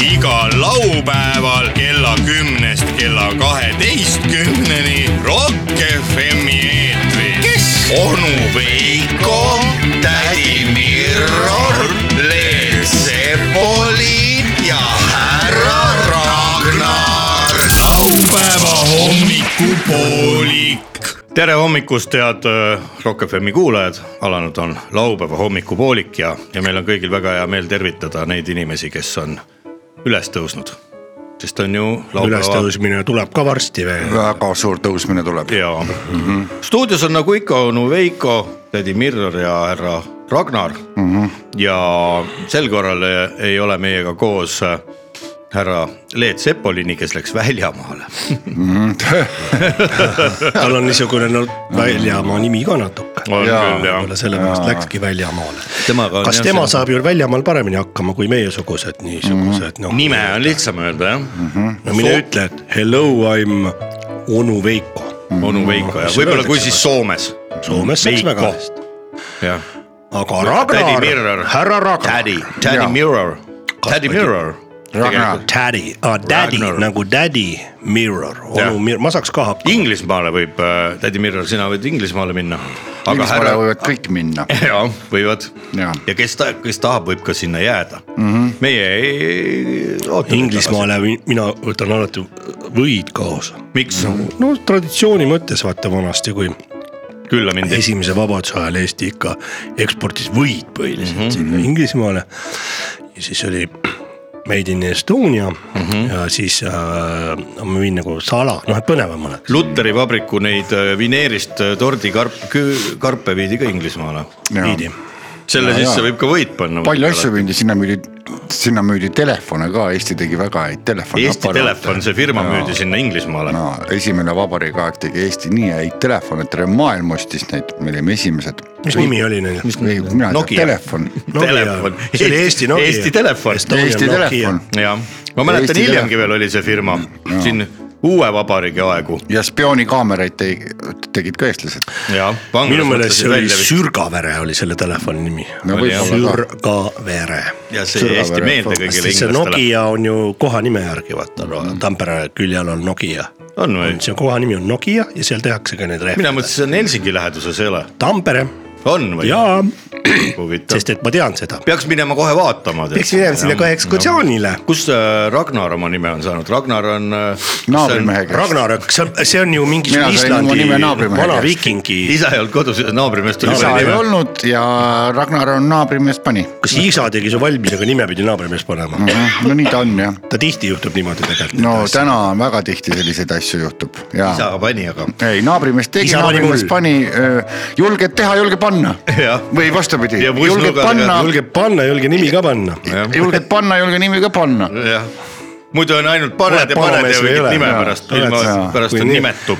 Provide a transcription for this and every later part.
igal laupäeval kella kümnest kella kaheteistkümneni Rock FM-i eetris . kes ? onu Veiko , tädi Mirror , Leel Sepoli ja härra Ragnar . laupäeva hommikupoolik . tere hommikust , head öö, Rock FM-i kuulajad , alanud on laupäeva hommikupoolik ja , ja meil on kõigil väga hea meel tervitada neid inimesi , kes on üles tõusnud . sest on ju laupäeva ülestõusmine tuleb ka varsti veel . väga suur tõusmine tuleb . ja mm -hmm. stuudios on nagu ikka onu Veiko , tädi Mirror ja härra Ragnar mm . -hmm. ja sel korral eh, ei ole meiega koos eh, härra Leet Sepolini , kes läks väljamaale tal on niisugune no väljamaa nimi ka natuke . On Jaa. küll, jah. võib-olla sellepärast läkski väljamaale . Temaga on kas jah, tema see- saab ju väljamaal paremini hakkama kui meiesugused niisugused noh . nime on lihtsam öelda jah mm , -hmm. no mine ütle , et hello , I m onu Veiko . onu Veiko ja Mis võib-olla öeldakse kui siis Soomes . Soomes saaks väga hästi . jah . aga Tädi Mirror. Ragnar , härra Ragnar . Daddy , Daddy Jaa. Mirror , Daddy ma ei Mirror . Ragnar. Daddy , daddy Ragnar. nagu daddy mirror , Jah. onu mirror , ma saaks ka hakkama . Inglismaale võib äh, , Daddy Mirror , sina võid Inglismaale minna . aga Inglismaale härra , võivad kõik minna . jaa , võivad . Jaa. ja kes ta , kes tahab , võib ka sinna jääda mm . -hmm. meie ei oota . Inglismaale vi- mina võtan alati võid kaasa miks ? no traditsiooni mõttes vaata vanasti , kui külla mind ei . esimese vabaduse ajal Eesti ikka eksportis võid põhiliselt mm -hmm. sinna Inglismaale . ja siis oli Made in Estonia mm -hmm. ja siis äh, ma viin nagu sala , noh et põnevam oleks . Lutteri vabriku neid äh, vineerist äh, tordikarp , karpe viidi ka Inglismaale . viidi , selle Jaa, sisse jaa. võib ka võit panna . palju asju müüdi , sinna müüdi , sinna müüdi telefone ka , Eesti tegi väga häid telefone . Eesti Telefon , see firma müüdi . sinna Inglismaale no esimene vabariigi aeg tegi Eesti nii häid telefone , terve maailm ostis neid , me olime esimesed . mis nimi oli neil ? ei , mina ei Nokia. tea , telefon . Telefon. see oli Eesti Nokia . Eesti telefon. Eesti telefon jah , ma mäletan Eesti hiljemgi Telefon. veel oli see firma siin uue vabariigi aegu ja spioonikaameraid tegi , tegid ka eestlased . ja . minu meelest see oli Sürgavere oli selle telefoni nimi No Oli, jah. võib-olla ka. Sürgavere . ja see jäi hästi Sõgavere meelde fond. kõigile sest see inglastele . Mm. Nokia on ju kohanime järgi vaata no, , Tampere küljel on Nokia . on või ? see kohanimi on Nokia ja seal tehakse ka neid rehve . mina mõtlesin , see on Helsingi läheduses ei ole . Tampere on või ? jaa , huvitav sest . et ma tean seda . peaks minema kohe vaatama . peaks minema sinna ka . ekskursioonile . kus äh, Ragnar oma nime on saanud , Ragnar on . äh, naabrimehe käest . Ragnarök , see on , see on ju mingi Mina sain oma Islandi nime naabrimehe vana käest. viikingi , isa ei olnud kodus , naabrimees tuli isa ei peale . olnud ja Ragnar on naabrimees pani . kas isa tegi su valmis , aga nime pidi naabrimees panema mm. . Mhm. no nii ta on jah . ta tihti juhtub niimoodi tegelikult . no täna on väga tihti selliseid asju juhtub ja . isa pani , aga ei , naabrimees tegi , Isa pani naabrimees muld. pani , julged teha , julge panna Jah. . või vastupidi , Ja julged pussnugadega panna , julge panna , julge nimi ka panna . jah. julged panna , julge nimi ka panna . jah , muidu on ainult paned Oled ja paned panamees ja või ei mingit ole? nime Jaa. pärast , Oled ilma sa- pärast kui on nii- nimetub .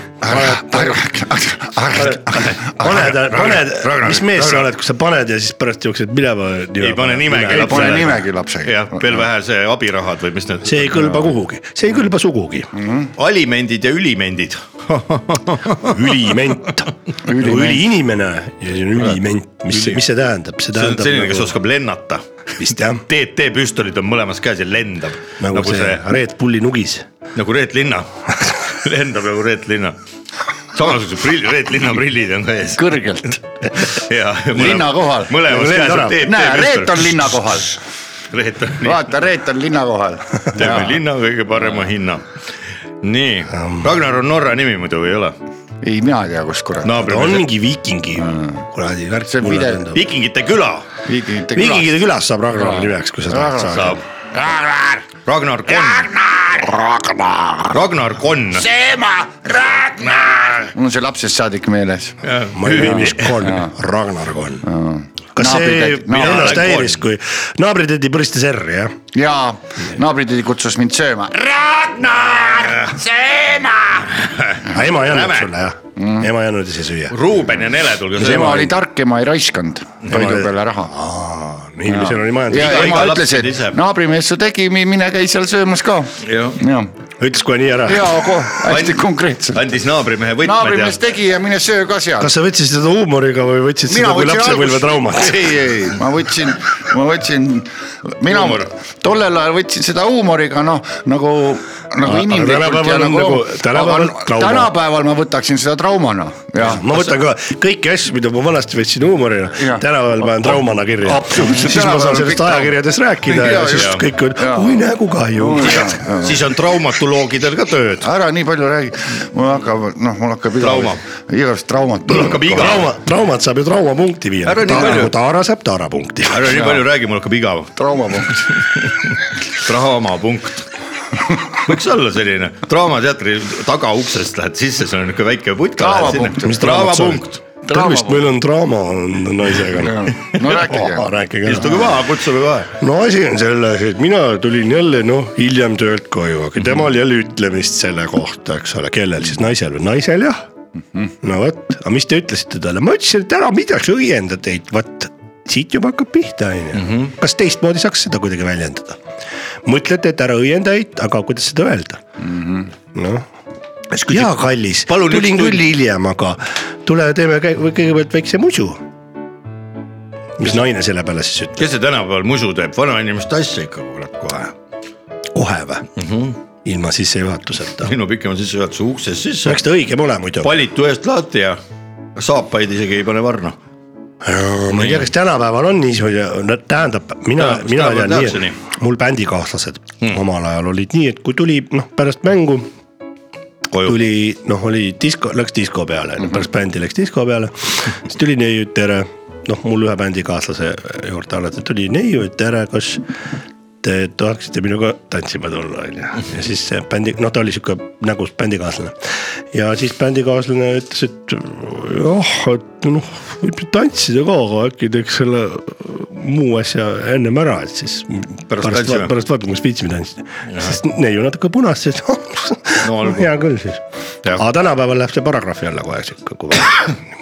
paned , paned , Ragnar- mis mees sa Ragnar- oled , kui sa paned ja siis pärast jooksed minema . ei pane nimegi ei pane lapsele . nimegi lapsega . jah , veel vähe see abirahad või mis need see ei kõlba kuhugi , see ei kõlba sugugi . alimendid ja ülimendid . üliment , Üliment. üliinimene ja siis on üliment , mis , mis see tähendab , see see on tähendab . nagu- selline , kes oskab lennata . vist jah , TT püstolid on mõlemas käes ja lendab nagu see Red Bulli nugis nagu Reet Linna . lendab nagu Reet Linna . samasugused prillid , Reet Linna prillid on ka ees . kõrgelt , ja . linna kohal . Nagu mõlemas käes on TT näe , Reet on . linna kohal , Reet on nii , vaata , Reet on linna kohal . teeme linna kõige parema hinna . nii , Ragnar on Norra nimi muidu või ei ole ? ei , mina ei tea , kus ta kurat . on naabrimees . mingi viikingi Mm. kuradi värk . See on pide- Vikingite küla viikingite viikingide külas saab Ragnari nimeks , kui sa tahad Ragnar. saada . saab . Ragnar Konn , Ragnar . Ragnar Konn . ema , Ragnar . mul on see lapsest saadik meeles . ma ei tea , mis konn , Ragnar konn . kas see Naabritädi- mind naabritädi ennast häiris konn. , kui naabritädi põristas R-i jah ? ja naabritädi kutsus mind sööma . aga ema ei andnud Näme. sulle jah ? Mm. ema ei andnud ise süüa . Ruuben ja Nele , tulge ema oli tark , ema ei raiskanud toidu oli- peale raha . inimesel oli ja Iga- majandus , ema iga laps ütles , teeb ise. et naabrimees su tegi , mine käi seal söömas ka . Jah. ja , ütles kohe nii ära . ja ko- hästi Andi- konkreetselt . andis naabrimehe võtmed ja naabrimees tegi ja mine söö ka seal . kas sa võtsid seda huumoriga või võtsid seda kui lapsepõlvetraumat ? ei , ei , ma võtsin , ma võtsin , mina Huumor. tollel ajal võtsin seda huumoriga noh , nagu , nagu Aga inimlikult tänapäeval ja on nagu nagu- . tänapäeval trauma. tänapäeval ma võtaksin seda traumana , jah . ma võtan ka kõiki asju , mida ma vanasti võtsin huumorina Jah. , tänapäeval panen traumana kirja . Absoluutselt, siis ma tänapäeval saan on sellest kõik ajakirjadest rääkida ja Jaa, siis just. kõik on , Jaa. oi nägu kahju . siis on traumatoloogidel ka tööd . ära nii palju räägi , mul hakkab , noh , mul hakkab Trauma. igavest , igavest traumat . Mul hakkab iga- trauma , traumat saab ju traumapunkti viia . Ära nii palju. nagu Taara saab Taara punkti . ära nii palju räägi , mul hakkab igav . traumapunkt . draamapunkt . võiks olla selline , Draamateatri tagauksest lähed sisse , seal on niisugune väike putka . Draamapunkt. Mis draamat see on? draamapunkt , tervist , meil on draama on naisega . no rääkige. rääkige ära. istuge maha , kutsume kohe . no asi on selles , et mina tulin jälle noh , hiljem töölt koju , Mhm. aga temal jälle ütlemist selle kohta , eks ole , kellel siis naisel või naisel jah . Mhm. no vot , aga mis te ütlesite talle , ma ütlesin , et ära midagi õienda teid , vot siit juba hakkab pihta , Mhm. onju . kas teistmoodi saaks seda kuidagi väljendada ? mõtlete , et ära õienda teid , aga kuidas seda öelda ? noh , jaa , kallis , Mhm. palun üks tulin tund- küll hiljem , aga tule teeme käi- või kõigepealt väikse musu . mis naine selle peale siis ütleb ? kes see tänapäeval musu teeb , vanainimeste asja ikka kurat kohe . kohe või mm ? -hmm. ilma sissejuhatuseta . minu pikema sissejuhatuse uksest sisse , oleks ta õigem ole muidu . palitu eest lahti ja saapaid isegi ei pane varna . Äh, ma ei tea , kas tänapäeval on niisugune , tähendab , mina Täna- , mina tänapäeval tean tehakse nii nii. , mul bändikaaslased hmm. omal ajal olid nii , et kui tuli noh , pärast mängu koju , Mhm. tuli noh , oli disko , läks disko peale , pärast bändi läks disko peale , siis tuli neiu , et tere . noh , mul ühe bändikaaslase juurde alati tuli neiu , et tere , kas te tahaksite minuga tantsima tulla , onju . ja siis see bändi , noh , ta oli sihuke nägus bändikaaslane . ja siis bändikaaslane ütles , et jah , et noh , võib ju tantsida ka , aga äkki teeks selle muu asja ennem ära , et siis . pärast, tantsime. pärast, pärast vaatame , kas viitsime tantsida . siis neiu natuke punas , siis No no, olgu. hea küll siis . Jah. aga tänapäeval läheb see paragrahvi alla kohe sihuke , kui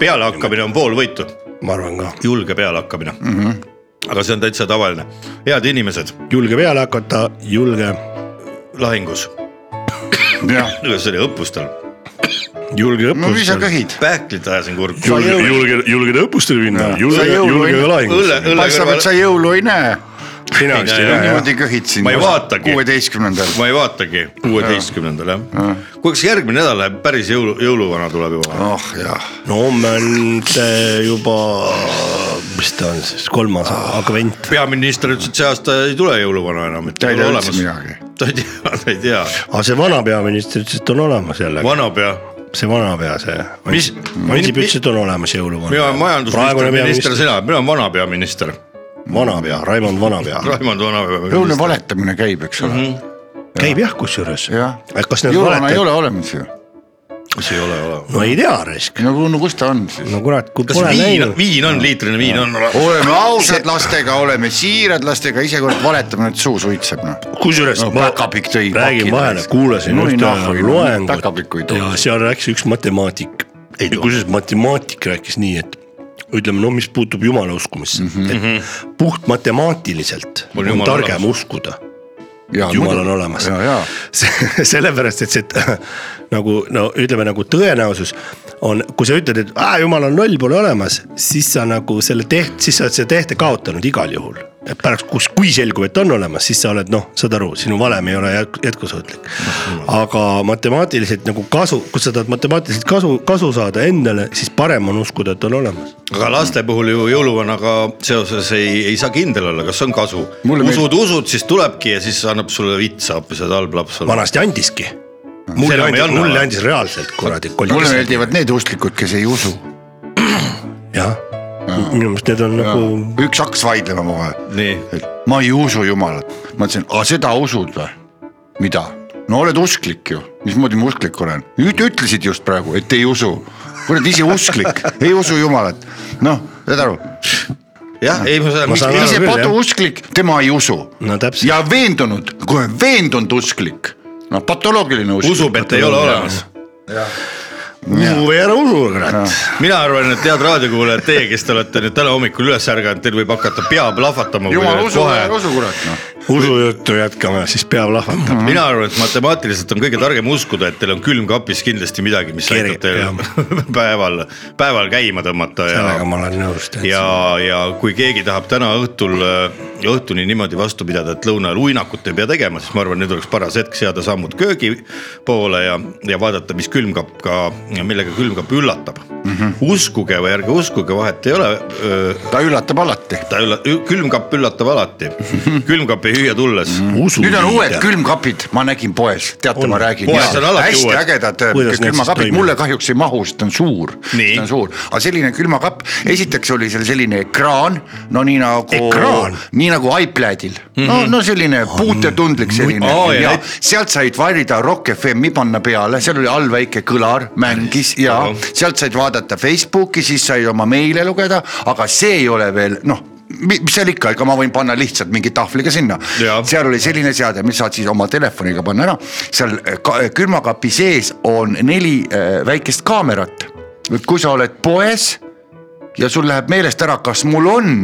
pealehakkamine on pool võitu , ma arvan ka . julge pealehakkamine mm . Mhm. -hmm. aga see on täitsa tavaline , head inimesed julge peale hakata , julge , lahingus , jah , see oli õppustel , julge no mis sa õppustel . köhid ? pähklid ajasin kurb . julge , julge , julge õppustele minna , Sa julge , jõulu- julge ka õlle , lahingusse . õlle paistab , et sa kõrval , jõulu ei näe . sina Ei vist näe, ei näe jah ? niimoodi köhid siin . Ma ei vaatagi. kuueteistkümnendal . ma ei vaatagi kuueteistkümnendal jah . kuule , kas järgmine nädal läheb päris jõulu , jõuluvana tuleb juba ? oh jah , no homme on see juba , mis ta on siis , kolmas advent . peaminister ütles , et see aasta ei tule jõuluvana enam , et Ta ei ole tea olemas. üldse midagi. ta ei tea , ta ei tea , aga see vana peaminister ütles , et on olemas jälle , vanapea see vanapea , see . Mis- Ansip ütles , et on olemas jõuluvana . mina olen majandusminister , minister , sina , mina olen vanapeaminister , vanapea , Raimond Vanapea . Raimond Vanapea . jõulune valetamine käib , eks ole mm . -hmm. käib jah , kusjuures . jah , kas need jõuluvana ei valetajad , ole olemas ju . kas ei ole olemas ? no ei tea raisk . no no kus ta on siis ? no kurat , kui kas pole viin , näinud . viin on , liitrine viin on olemas ? oleme ausad lastega , oleme siirad lastega , ise kord valetame , et suu suitseb noh . kusjuures No päkapikk tõi räägin pakid vahele täis. , kuulasin Nui ühte nahhu, päkapikku ei loengut too. ja seal rääkis üks matemaatik . kusjuures matemaatik rääkis nii , et ütleme , no mis puutub jumala uskumisse mm , -hmm. et puht matemaatiliselt On on, jumal on olemas. targem olemas. uskuda , jumal on olemas ja , ja , Se- sellepärast , et see t- nagu no ütleme nagu tõenäosus on , kui sa ütled , et "Aa, jumal on loll , pole olemas , siis sa nagu selle teht- , siis sa oled selle tehte kaotanud igal juhul . et pärast , kus , kui selgub , et on olemas , siis sa oled noh , saad aru , sinu valem ei ole jätku- jätkusuutlik . aga matemaatiliselt nagu kasu , kui sa tahad matemaatiliselt kasu , kasu saada endale , siis parem on uskuda , et on olemas . aga laste puhul ju jõuluvanaga seoses ei , ei saa kindel olla , kas on kasu . Mulle meeldib- usud , usud , siis tulebki ja siis annab sulle vitsa hoopis , et halb laps on . vanasti andiski . mulle enam ei andis , anna, või? mulle andis reaalselt kuradi . mulle meeldivad need usklikud , kes ei usu . jah , minu meelest need on nagu üks hakkas vaidlema omavahel , nii , et ma ei usu jumalat , ma ütlesin , aga seda usud või ? mida ? no oled usklik ju , mismoodi ma usklik olen , nüüd ütlesid just praegu , et ei usu . kurat ise usklik , ei usu jumalat , noh , saad aru , jah , ei ma saan Ma saan aru . aru. ise küll, jah. patousklik , tema ei usu no täpselt . ja veendunud , kohe veendunud usklik , noh patoloogiline usklik . usub , et ei ole olemas . usu või ära usu , kurat . mina arvan , et head raadiokuulajad , teie , kes te olete nüüd täna hommikul üles ärganud , teil võib hakata pea plahvatama . jumal usu , ära usu kurat noh . usujuttu jätkame , siis peab lahvatama . mina arvan , et matemaatiliselt on kõige targem uskuda , et teil on külmkapis kindlasti midagi , mis Kerge, aitab teil päeval , päeval käima tõmmata sellega ja , ma olen nõus täitsa . ja , ja kui keegi tahab täna õhtul , õhtuni niimoodi vastu pidada , et lõuna ajal uinakut ei pea tegema , siis ma arvan , nüüd oleks paras hetk seada sammud köögi poole ja , ja vaadata , mis külmkapp ka , millega külmkapp üllatab mm . Mhm. -hmm. uskuge või ärge uskuge , vahet ei ole ta üllatab alati . ta ülla- , külmkapp üllatab alati , Mhm. külmkapp ei hüüa tulles mm . nüüd on uued . külmkapid , ma nägin poes , teate , ma räägin . Poes on alati hästi uued. ägedad äh, Kuidas need siis külmakapid , toimivad? mulle kahjuks ei mahu , sest ta on suur . Nii. ta on suur , aga selline külmakapp , esiteks oli seal selline ekraan , no nii nagu Ekraan? , nii nagu iPladil . no , no selline puutetundlik selline Mhm. aa, ja ja näit- sealt said valida Rock FM-i panna peale , seal oli all väike kõlar mängis ja Ahah. sealt said vaadata Facebooki , siis sai oma meile lugeda , aga see ei ole veel noh mi- mis seal ikka , ega ma võin panna lihtsalt mingi tahvliga sinna , Jaa. seal oli selline seade , mis saad siis oma telefoniga panna ära , seal eh, ka- külmakapi sees on neli äh, väikest kaamerat . et kui sa oled poes ja sul läheb meelest ära , kas mul on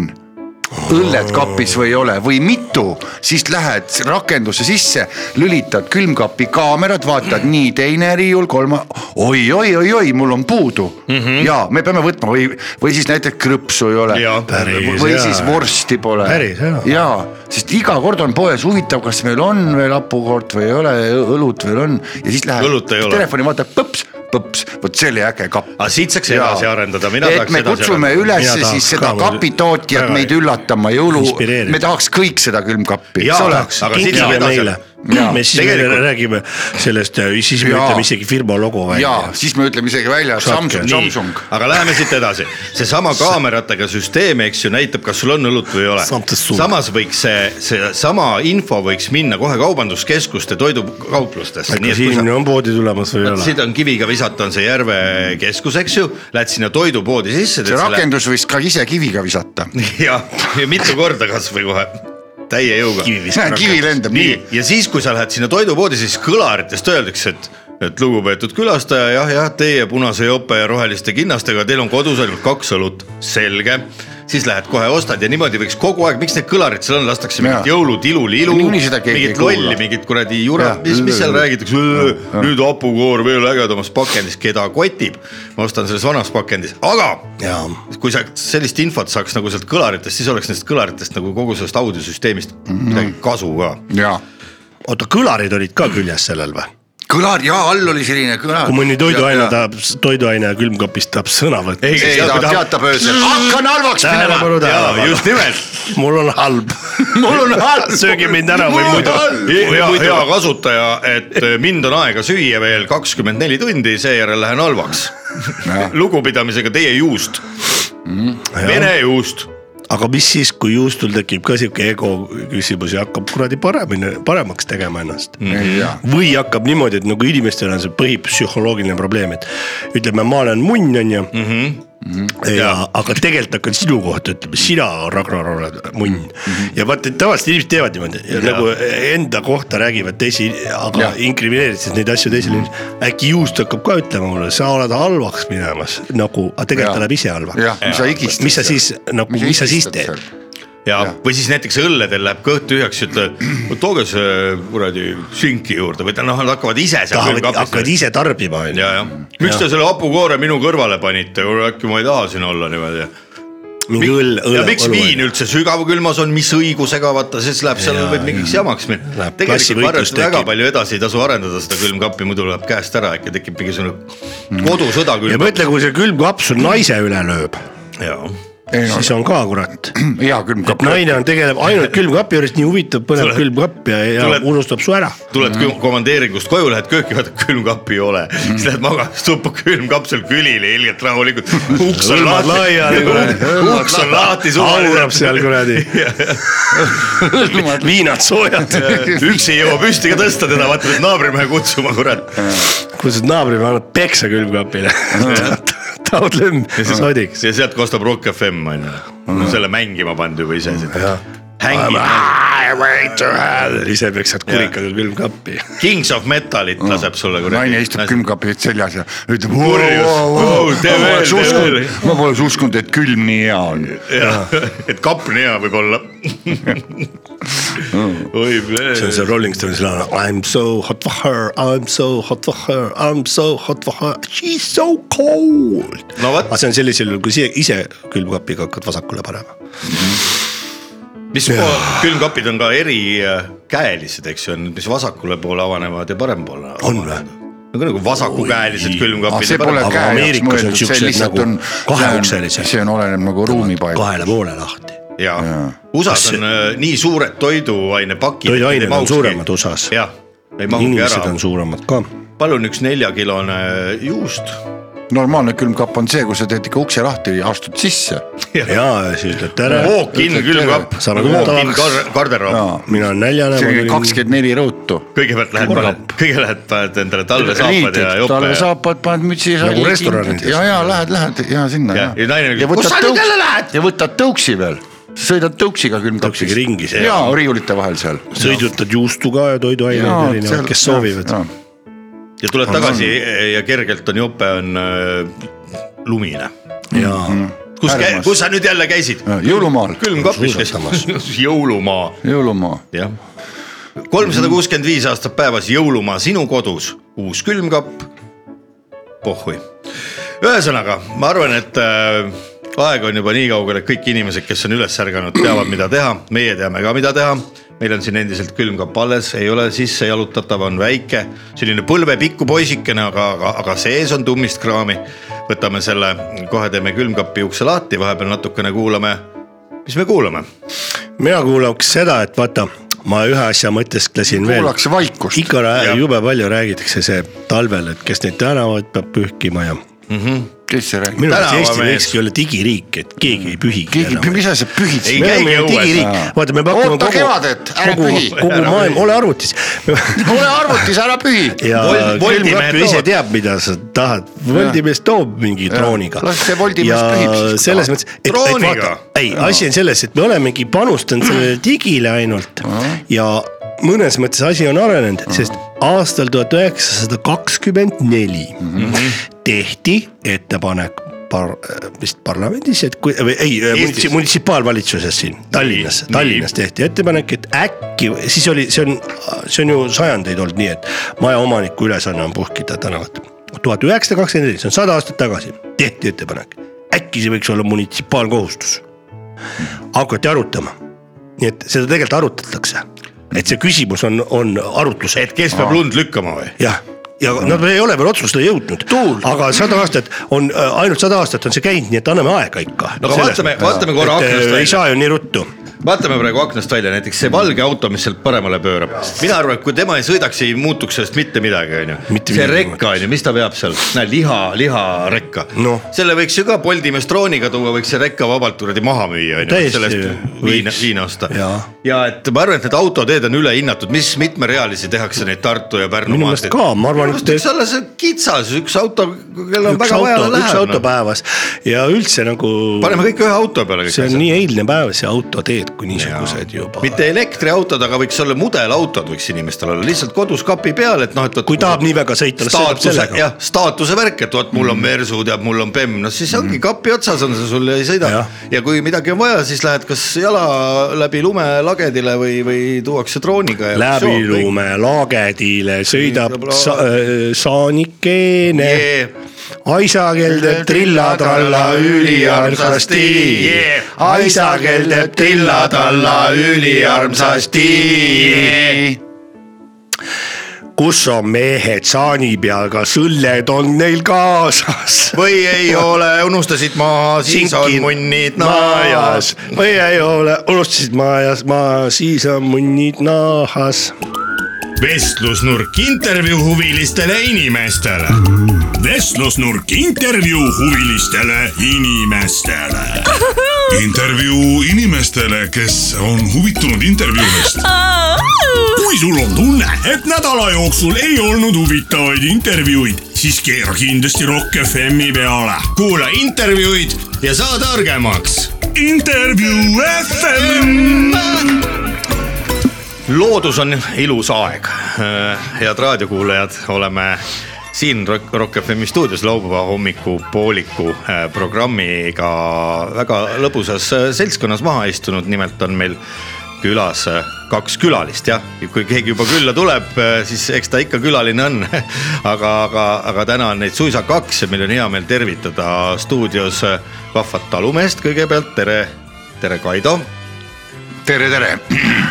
õlled kapis või ei ole või mitu , siis lähed rakenduse sisse , lülitad külmkapi kaamerad , vaatad nii teine riiul , kolma oi, , oi-oi-oi-oi , mul on puudu mm . -hmm. ja me peame võtma või , või siis näiteks krõpsu ei ole Jaa, päris või hea. siis vorsti pole . Päris hea. ja , sest iga kord on poes huvitav , kas meil on veel hapukord või ei ole , õlut veel on ja siis lähed Õlut ei ole. telefoni vaatad põps , põps , vot see oli äge kapp . aga siit saaks edasi arendada , mina et tahaks me edasi kutsume arendada . üles Mina siis tahaks seda ka, mul- kapitootjat väga meid hea. üllatama jõulu , Inspireerida. me tahaks kõik seda külmkappi , eks jaa , ole . aga siit saab kinkige edasi meile . Jaa. me siis Tegelikult- veel räägime sellest , siis me Jaa. ütleme isegi firma logo välja ja . siis me ütleme isegi välja Saatke. Samsung , Nii. Samsung . aga läheme siit edasi , seesama kaameratega süsteem , eks ju , näitab , kas sul on õlut või ei ole . Samsung. samas võiks see , seesama info võiks minna kohe kaubanduskeskuste toidukauplustesse . kas inimene on poodi tulemas või ei ole ? siit on kiviga visata , on see Järve keskus , eks ju , lähed sinna toidupoodi sisse . see rakendus võis ka ise kiviga visata . jah , ja mitu korda kasvõi kohe , täie jõuga . kivi lendab nii, nii , ja siis , kui sa lähed sinna toidupoodi , siis kõlaritest öeldakse , et , et lugupeetud külastaja , jah , jah , teie punase jope ja roheliste kinnastega , teil on kodus ainult kaks õlut , selge . siis lähed kohe ostad ja niimoodi võiks kogu aeg , miks need kõlarid seal on , lastakse mingit Jaa. jõulud , ilul , ilu , Niikuinii seda keegi ei mingit kuula. lolli , mingit kuradi jura Jaa. , mis , mis seal räägitakse , nüüd hapukoor veel ägedamas pakendis , keda kotib . ma ostan selles vanas pakendis , aga jaa , kui sa sellist infot saaks nagu sealt kõlaritest , siis oleks nendest kõlaritest nagu kogu sellest audiosüsteemist mm Mhm. -hmm. midagi kasu ka . ja oota kõlarid olid ka küljes sellel või ? kõlar ja all oli selline kõlar . kui mõni toiduaine . tahab , toiduaine külmkapist tahab sõna võtta . Ei, ei , Teab- ta teatab öösel , hakkan halvaks minema . tähelepanu , jaa , tähelepanu , just nimelt . mul on halb . mul on halb . sööge mind ära või muidu . hea , hea kasutaja , et eh, mind on aega süüa veel kakskümmend neli tundi , seejärel lähen halvaks . lugupidamisega teie juust , Mhm. vene juust . aga mis siis , kui juustul tekib ka sihuke ego küsimus ja hakkab kuradi paremini , paremaks tegema ennast mm. ? Mhm. või hakkab niimoodi , et nagu inimestel on see põhipsühholoogiline probleem , et ütleme , ma olen munn , onju . Mhm. ja Jaa. aga tegelikult hakkan sinu kohta ütlema , sina , Ragnar , oled munn mm . -hmm. ja vaata , tavaliselt inimesed teevad niimoodi ja nagu enda kohta räägivad teisi , aga Jah. inkrimineerivad siis neid asju teisele mm . -hmm. äkki juust hakkab ka ütlema mulle , sa oled halvaks minemas nagu , aga tegelikult ta läheb ise halvaks . jah , mis sa higistad . mis sa siis nagu , mis sa siis teed ?? ja , või siis näiteks õlledel läheb kõht tühjaks , ütleb tooge see eh, kuradi sünki juurde või ta noh , nad hakkavad ise seal tahavad , külmkapist- hakkavad ise tarbima , onju . ja , jah , miks te selle hapukoore minu kõrvale panite , äkki ma ei taha siin olla niimoodi . mingi õll , õlle . ja miks viin üldse sügavkülmas on , mis õigusega , vaata siis läheb seal Jaa, võib mingiks jamaks minna Läheb . tegelikult ma arvan , klassivõitlus et väga tekib. palju edasi ei tasu arendada seda külmkappi , muidu läheb käest ära , äkki tekib mingisugune kodusõda Mm. ja külmkapp . mõtle , kui see külmkapp Mm. sul naise üle lööb , jaa , ei no siis on ka kurat . hea külmkapp . naine on , tegeleb ainult külmkapi juures , nii huvitav , põnev Tuleb- külmkapp ja , ja tuleb- unustab su ära . tuled mm. komandeeringust koju , lähed kööki , vaatad külmkappi ei ole mm. , siis lähed magamistuppa , külmkapp seal külili ilgelt rahulikult . uks on Hõlmad laiali, kuradi. lahti , uks on lahti , aurab seal kuradi , viinad soojad . üksi ei jõua püsti ka tõsta teda , vaata pead naabrimehe kutsuma , kurat . kutsud naabri , annad peksa külmkapile . taod lömm sodiks . ja sealt kostab Rock FM on ju , selle mängima pandi juba ise siin . Mm. jah , hängib , I went to hell , ise peksad kurikaga külmkappi . Kings of Metalit Mm. laseb sulle naine istub . külmkapi seljas ja ütleb . Wow, tee veel, tee veel. ma poleks uskunud , et külm nii hea on . et kapp nii hea võib olla . oi , Mm. see on see Rolling Stones'i laul I m so hot for her , I m so hot for her , I m so hot for her , she is so cold . No vot. aga see on sellisel juhul , kui sa ise külmkapiga hakkad vasakule panema . mis po- külmkapid on ka erikäelised , eks ju , on , mis vasakule poole avanevad ja parempoolne . on Ah, või ? nagu nagu vasakukäelised külmkapid . Ah, see pole Aga käe jaoks Ameerikas on mõeldud , siuksed see lihtsalt nagu on . kaheukselised. see on olenev nagu ruumipaik . kahele poole lahti . ja Jaa. USA-s Kas- on äh, nii suured toiduainepakid . Ah, Toiduained on suuremad USA-s. jah , ei mahugi inimesed ära on . suuremad ka . palun üks neljakilone äh, juust . normaalne külmkapp on see , kus sa teed ikka ukse lahti ja astud sisse . ja siis ütled tere . Walk-in Ütled külmkapp tere. , Sa nagu nagu walk-in tahaks- kar- garderoob . jaa , mina olen näljane . see on kakskümmend neli rõutu . kõigepealt lähed , Külmkapp. kõigepealt lähed , paned endale talvesaapad ja riided , jope ja , talvesaapad , paned mütsi . Nagu restoranides. ja , ja lähed , lähed ja sinna Ja- ja naine küsib, "Kus sa nüüd jälle lähed?" ja võtad tõuksi veel , sõidad tõuksiga külmkapist . Tõuksiga ringi, see- ja riiulite vahel seal . sõidutad juustu ka ja toiduaineid erinevaid , kes soovivad . ja tuled tagasi e- ja kergelt on jope on äh, lumine . ja kus , Ärmas. kus sa nüüd jälle käisid ? Äh. jõulumaal , külmkapis Suusatamas. käisid , jõulumaa jõulumaa , jah , kolmsada kuuskümmend viis aastat päevas jõulumaa sinu kodus , uus külmkapp , pohhui . ühesõnaga , ma arvan , et äh, aeg on juba nii kaugel , et kõik inimesed , kes on üles ärganud , teavad , mida teha , meie teame ka , mida teha . meil on siin endiselt külmkapp alles , ei ole sisse jalutatav , on väike , selline põlvepikku poisikene , aga , aga , aga sees on tummist kraami . võtame selle , kohe teeme külmkapi ukse lahti , vahepeal natukene kuulame , mis me kuulame mina kuulaks seda , et vaata , ma ühe asja mõtesklesin veel . kuulaks vaikust . ikka Jah. rää- jube palju räägitakse see talvel , et kes neid tänavaid peab pühkima ja kes see räägib ? minu arust Tänavamees. Eesti võikski olla digiriik , et keegi ei pühigi keegi , enam . mis asja sa pühid Ei siin ? me käigi oleme ju õues. digiriik Aa. , vaata , me pakume Oota kevadet, ära kogu pühi. , kogu Ära maailm , pühi. ole arvutis . ole arvutis , ära pühi . ja Vol- Voldimehed külmkapp ju ise toovad. teab , mida sa tahad , Voldimees toob mingi drooniga . las see Voldimees pühib siis, kui selles tahab. mõttes , et , et Drooniga? vaata , ei , asi on selles , et me olemegi panustanud sellele digile ainult ja mõnes mõttes asi on arenenud , sest aastal tuhat üheksasada kakskümmend neli tehti ettepanek par- , vist parlamendis , et kui , või ei , Eestis. munitsipaalvalitsuses siin Tallinnas , Nii, Tallinnas tehti ettepanek , et äkki siis oli , see on , see on ju sajandeid olnud nii , et majaomaniku ülesanne on puhkida tänavat . tuhat üheksasada kakskümmend neli , see on sada aastat tagasi , tehti ettepanek , äkki see võiks olla munitsipaalkohustus . hakati arutama , nii et seda tegelikult arutatakse , et see küsimus on , on arutlusel . et kes peab lund lükkama või ? jah , ja nad ei ole veel otsusele jõudnud , aga sada aastat on , ainult sada aastat on see käinud , nii et anname aega ikka . No aga vaatame- vaatame korra aknast välja. äh, ei saa ju nii ruttu . vaatame praegu aknast välja , näiteks see valge auto , mis sealt paremale pöörab . mina arvan , et kui tema ei sõidaks , ei muutuks sellest mitte midagi , onju . Mitte see midagi ei rekka onju , mis ta veab seal , näe liha , liharekka Noh. selle võiks ju ka Bolti mestrooniga tuua , võiks see rekka vabalt kuradi maha müüa onju , Täiesti sellest võiks. viina , viina osta . Jaa. ja et ma arvan , et need autoteed on ülehinnatud , mis mitmerealisi tehakse neid Tartu ja Pärnu minu meelest ka , ma arvan , et võiks olla see kitsas , üks auto , kellel on üks väga vaja auto , üks läheb auto no. . päevas ja üldse nagu . paneme kõik ühe auto peale kõik see on nii eilne päev , see autoteed kui niisugused juba . mitte elektriautod , aga võiks olla mudelautod , võiks inimestel olla lihtsalt kodus kapi peal , et noh , et . kui tahab nii väga sõita , las sõidab staatuse , sellega . Mm. jah , staatuse värk , et vot mul on Mersu , tead , mul on BEM , noh siis ongi kapi otsas on see sul ja ei sõida Jah. . ja kui midagi on vaja , siis lähed kas jala läbi lumelagedile või , või tuuakse drooniga . läbi . lume , laagedile sõidab Sõidab la- sa, äh, saanikene Jee. aisakell teeb trilla-tralla üliarmsasti Jee. , aisakell teeb trilla-tralla üliarmsasti . kus on mehed saani peal , kas õlled on neil kaasas ? või ei ole , unustasid maha , siis on munnid najas . või ei ole , unustasid majas , ma siis on munnid nahas . vestlusnurk intervjuu huvilistele inimestele . vestlusnurk intervjuu huvilistele inimestele . intervjuu inimestele , kes on huvitunud intervjuudest . kui sul on tunne , et nädala jooksul ei olnud huvitavaid intervjuuid , siis keera kindlasti Rock FM-i peale . kuula intervjuud ja saa targemaks . intervjuu FM . loodus on ilus aeg . head raadiokuulajad , oleme siin Rock , Rock FM stuudios laupäeva hommikupooliku eh, programmiga väga lõbusas eh, seltskonnas maha istunud , nimelt on meil külas eh, kaks külalist jah , kui keegi juba külla tuleb , siis eks ta ikka külaline on . aga , aga , aga täna on neid suisa kaks ja meil on hea meel tervitada stuudios eh, vahvat talumeest kõigepealt , tere , tere , Kaido tere , tere .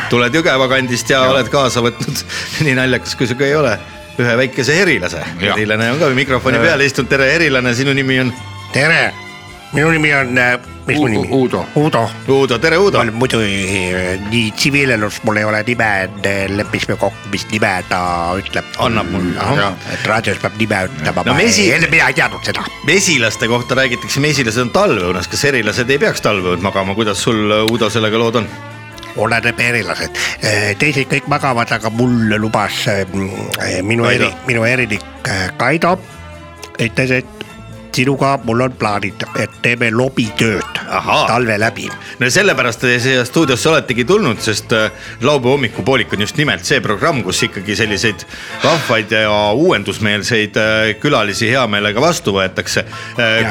tuled Jõgeva kandist ja, ja oled kaasa võtnud , nii naljakas kui sinuga ei ole , ühe väikese erilase . Jah. erilane on ka mikrofoni peale istunud , tere , erilane , sinu nimi on tere , minu nimi on , mis mu U- nimi ? Uudo. Uudo . Uudo , tere Uudo ma . olen muidu eh, nii tsiviilelus , mul ei ole nime , leppisime kokku , mis nime ta ütleb . Annab mulle, ahah. et raadios peab nime ütlema No no, , mesi- enne mina ei teadnud seda . mesilaste kohta räägitakse , mesilased on talveõunas , kas erilased ei peaks talveõund magama , kuidas sul Uudo sellega lood on ? oleneb erilased , teised kõik magavad , aga mulle lubas eh, m- minu Kaido. eri , minu erilik eh, Kaido , ütles , et sinuga mul on plaanid , et teeme lobitööd Ahaa. talve läbi no sellepärast te siia stuudiosse oletegi tulnud , sest äh, laupäeva hommikupoolik on just nimelt see programm , kus ikkagi selliseid vahvaid ja uuendusmeelseid äh, külalisi hea meelega vastu võetakse .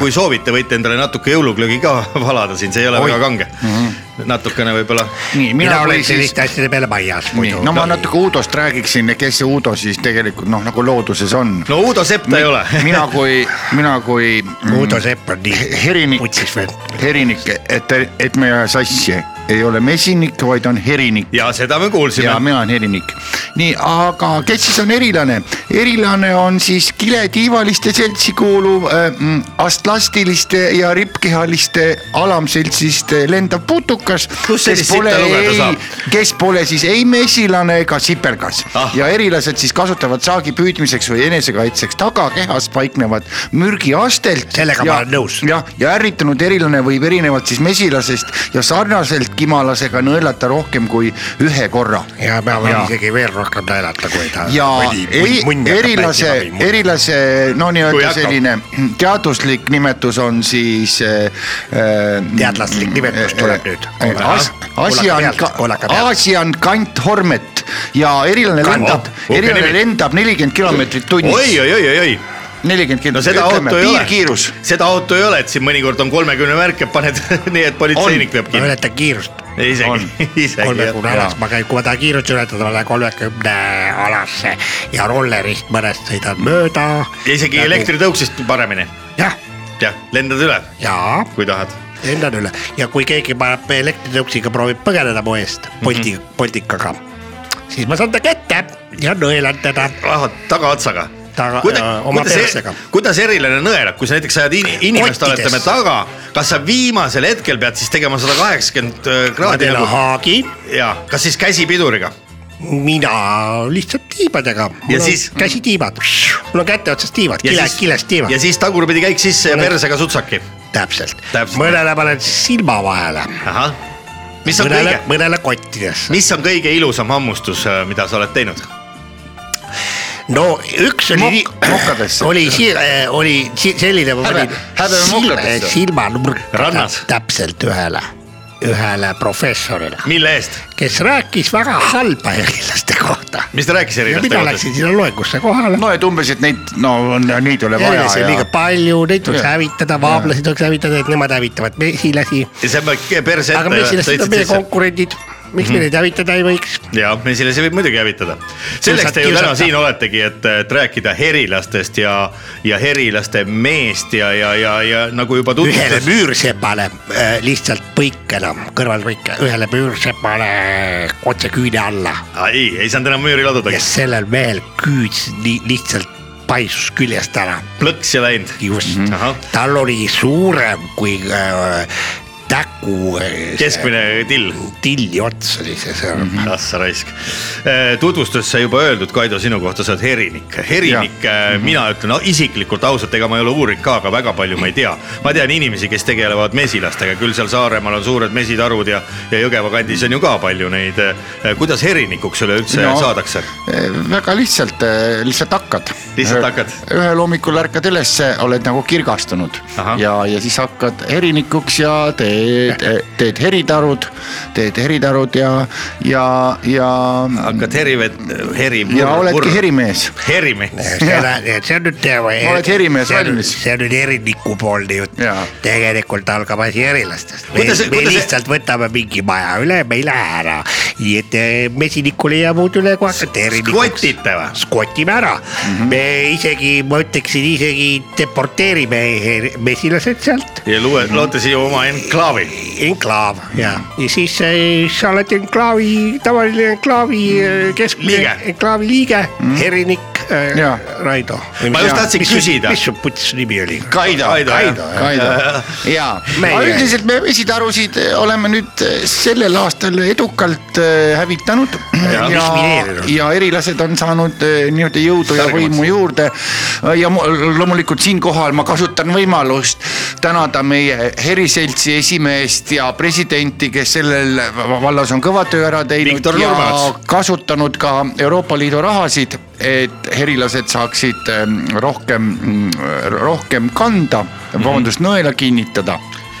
kui soovite , võite endale natuke jõuluglögi ka valada siin , see ei ole Oi. väga kange mm . -hmm. natukene võib-olla . nii , mina, mina mina olen või siis selliste asjade peale majas nii muidu , no ma natuke Uudost räägiksin , kes see Uudo siis tegelikult noh , nagu looduses on . no Uudo Sepp ta ei ole . mina kui , mina kui Uudo Sepp on nii herinik , putsis vend . herinik , et , et me ei aja sassi , ei ole mesinik , vaid on herinik . ja seda me kuulsime ja . mina olen herinik . nii , aga kes siis on erilane ? erilane on siis kiletiivaliste seltsi kuuluv äh, mm, astlastiliste ja rippkehaliste alamseltsist äh, lendav putukas . Kus sellist sitta lugeda saab? kes pole siis ei mesilane ega sipelgas Ah. ah. ja erilased siis kasutavad saagi püüdmiseks või enesekaitseks tagakehas paiknevad mürgiastelt . Sellega ma ja, olen nõus. jah , ja ärritunud erilane võib erinevalt siis mesilasest ja sarnaselt kimalasega nõelata rohkem kui ühe korra ja ma võin isegi veel rohkem naelata , kui ta . ja eri , erilase , erilase no Kui nii-öelda hakkab. selline teaduslik nimetus on siis äh, . äh, Teadlaslik nimetus tuleb nüüd. Asian Kuulake , pealt, kuulake pealt. Asian kant Hormet ja erilane Kant- lendab oh, , uhke erilane nimi. lendab nelikümmend kilomeetrit tunnis , oi , oi , oi , oi nelikümmend no kilomeetrit , seda auto ei ole piirkiirus ., seda auto ei ole , et siin mõnikord on kolmekümne märke , paned nii , et politseinik peab ma kinni . ületan kiirust isegi , kolmekümne isegi . alas , ma käin , kui ma tahan kiirust ületada , ma lähen kolmekümne alasse ja rollerist mõnest sõidan mööda . ja isegi . elektritõuksist paremini , Nagu- jah , jah , lendad üle , ja kui tahad . lendan üle ja kui keegi paneb elektritõuksiga , proovib põgeneda mu eest polti , poltikaga , siis ma saan ta kätte ja nõelan teda . ahah , tagaotsaga . Taga- ja oma persega. kuidas erilane nõelab , kui sa näiteks ajad in, inimest , Kottides. oletame taga , kas sa viimasel hetkel pead siis tegema sada kaheksakümmend ma kraadi teen nagu haagi ja kas siis käsipiduriga ? mina lihtsalt tiibadega . siis- käsitiibad , mul on käte otsas tiivad , ja kile , siis kilest , tiivad ja , siis tagurpidi käik sisse ja Mul on- persega sutsaki . täpselt, Täpselt. täpselt. . mõnele panen silma vahele , ahah , mis on mõnele kõige ,, mõnele kottidesse . mis on kõige ilusam hammustus , mida sa oled teinud ? no üks oli nii Mok- mokkadesse. oli , oli si- selline . Häbe- häbeme mokkadesse. silmanurk . Rannas. täpselt ühele , ühele professorile , mille eest , kes rääkis väga halba erilaste kohta . mis ta rääkis ja erilaste mina kohta ? läksin sinna loengusse kohale . no et umbes , et neid , no on- neid ei ole vaja Erilasi on liiga ja palju , neid tuleks Jah. hävitada , vaablasid tuleks hävitada , et nemad hävitavad mesilasi ja see on väike perse aga mesilased on meie konkurendid , miks Mhm. me neid hävitada ei võiks ? ja mesilasi võib muidugi hävitada . selleks Kiusata- te ju täna kiusata. siin oletegi , et , et rääkida herilastest ja , ja herilaste meest ja , ja , ja , ja nagu juba ühele tutvustatud . müürsepale äh, lihtsalt põikena , kõrvalpõike , ühele müürsepale otse küüne alla ei , ei saanud enam müüri ladudagi ja yes. , sellel mehel küüd li- lihtsalt paisus küljest ära , plõks ja läinud . just mm . Mhm, Ahah. -hmm. tal oli suurem kui äh, täku äh, see keskmine till , tilli ots oli see sõrm mm . -hmm. ah sa raisk . tutvustuses sai juba öeldud , Kaido , sinu kohta sa oled herinik . herinik , mina ütlen no, isiklikult ausalt , ega ma ei ole uurinud ka , aga väga palju ma ei tea . ma tean inimesi , kes tegelevad mesilastega , küll seal Saaremaal on suured mesitarud ja , ja Jõgeva kandis on ju ka palju neid . kuidas herinikuks üleüldse no. No. Eh, saadakse ? väga eh, lihtsalt , lihtsalt hakkad lihtsalt hakkad . ühel hommikul ärkad ülesse , oled nagu kirgastunud Ahah. ja , ja siis hakkad herinikuks ja teed , teed heritarud , teed heritarud ja , ja , ja , hakkad herivet , heri . ja oledki . herimees . herimees . seda , see on nüüd . Oled herimees valmis. see on nüüd eriniku poolne jutt Jaa. . tegelikult algab asi erilastest . me, Kuidas see- me kuidas see- lihtsalt võtame mingi maja üle , me ei lähe ära . nii et eh, mesinikule ja muud üle kohe hakata erinikuks . skotite või ? skotime ära mm , -hmm. me isegi , ma ütleksin isegi deporteerime her- mesilased sealt . ja luue , loote siia oma enklaavi . enklaav ja , ja siis eh, sa oled enklaavi , tavaline enklaavi eh, kesk- Liige. , enklaavi liige mm. , erinik eh, Jaa. äh, , Raido . Ma just tahtsin küsida. mis su puts nimi oli ? Kaido , Kaido, jah. Kaido Jah. ja , Meie. aga üldiselt me vesitarusid oleme nüüd eh, sellel aastal edukalt eh, hävitanud . ja, distsiplineerinud. ja erilased on saanud eh, nii-öelda jõudu ja Targemaks. võimu juurde . ja mu- loomulikult siinkohal ma kasutan võimalust tänada meie heriseltsi esimeest ja presidenti , kes sellel vallas on kõva töö ära teinud Viktor ja Nurmets. kasutanud ka Euroopa Liidu rahasid , et herilased saaksid ähm, rohkem , rohkem kanda , vabandust , nõela kinnitada .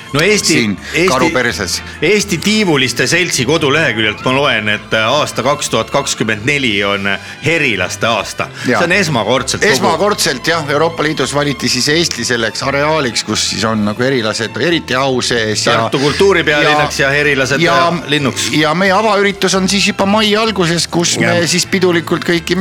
no Eesti , Siin karu perses. Eesti Tiivuliste Seltsi koduleheküljelt ma loen , et äh, aasta kaks tuhat kakskümmend neli on äh, herilaste aasta . see Jaa. on esmakordselt . esmakordselt jah , Euroopa Liidus valiti siis Eesti selleks areaaliks , kus siis on nagu erilased eriti au sees . Tartu kultuuripealinnaks ja herilased linnuks. ja meie avaüritus on siis juba mai alguses , kus ja. me siis pidulikult kõiki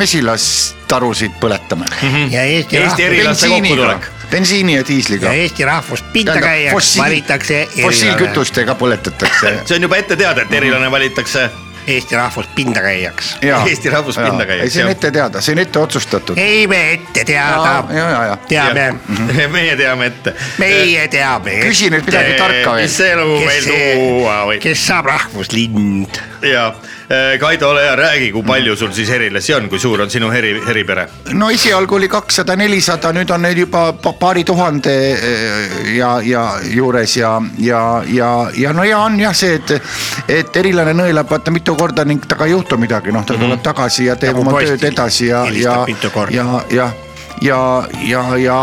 mesilastarusid põletame mm . -hmm. ja Eesti, Eesti rahvus, erilaste Mhm. kokkutulek . bensiini ja diisliga ja . Eesti rahvust pinda Tähendab, käiaks fossiil- valitakse erilane , fossiilkütustega põletatakse . see on juba ette teada , et Mhm. erilane valitakse Eesti rahvust pinda käiaks . Eesti rahvuspinda käies, ei , see jah. on ette teada , see on ette otsustatud . ei me ette ja , teada , ja , ja teame , Mhm. meie teame ette . meie teame , küsi nüüd midagi tarka mis veel . see nagu meil tuua või ? kes saab rahvuslind . ja , Kaido , ole hea , räägi , kui palju sul siis herilasi on , kui suur on sinu heri , heripere ? no esialgu oli kakssada , nelisada , nüüd on neil juba pa- paari tuhande eh, ja , ja juures ja , ja , ja , ja no ja on jah see , et , et erilane nõelab vaata mitu korda ning temaga ei juhtu midagi , noh , ta tuleb tagasi ja teeb Nagu oma postil. tööd edasi ja , ja Helistab , mitu korda. ja , jah ja , ja , ja ,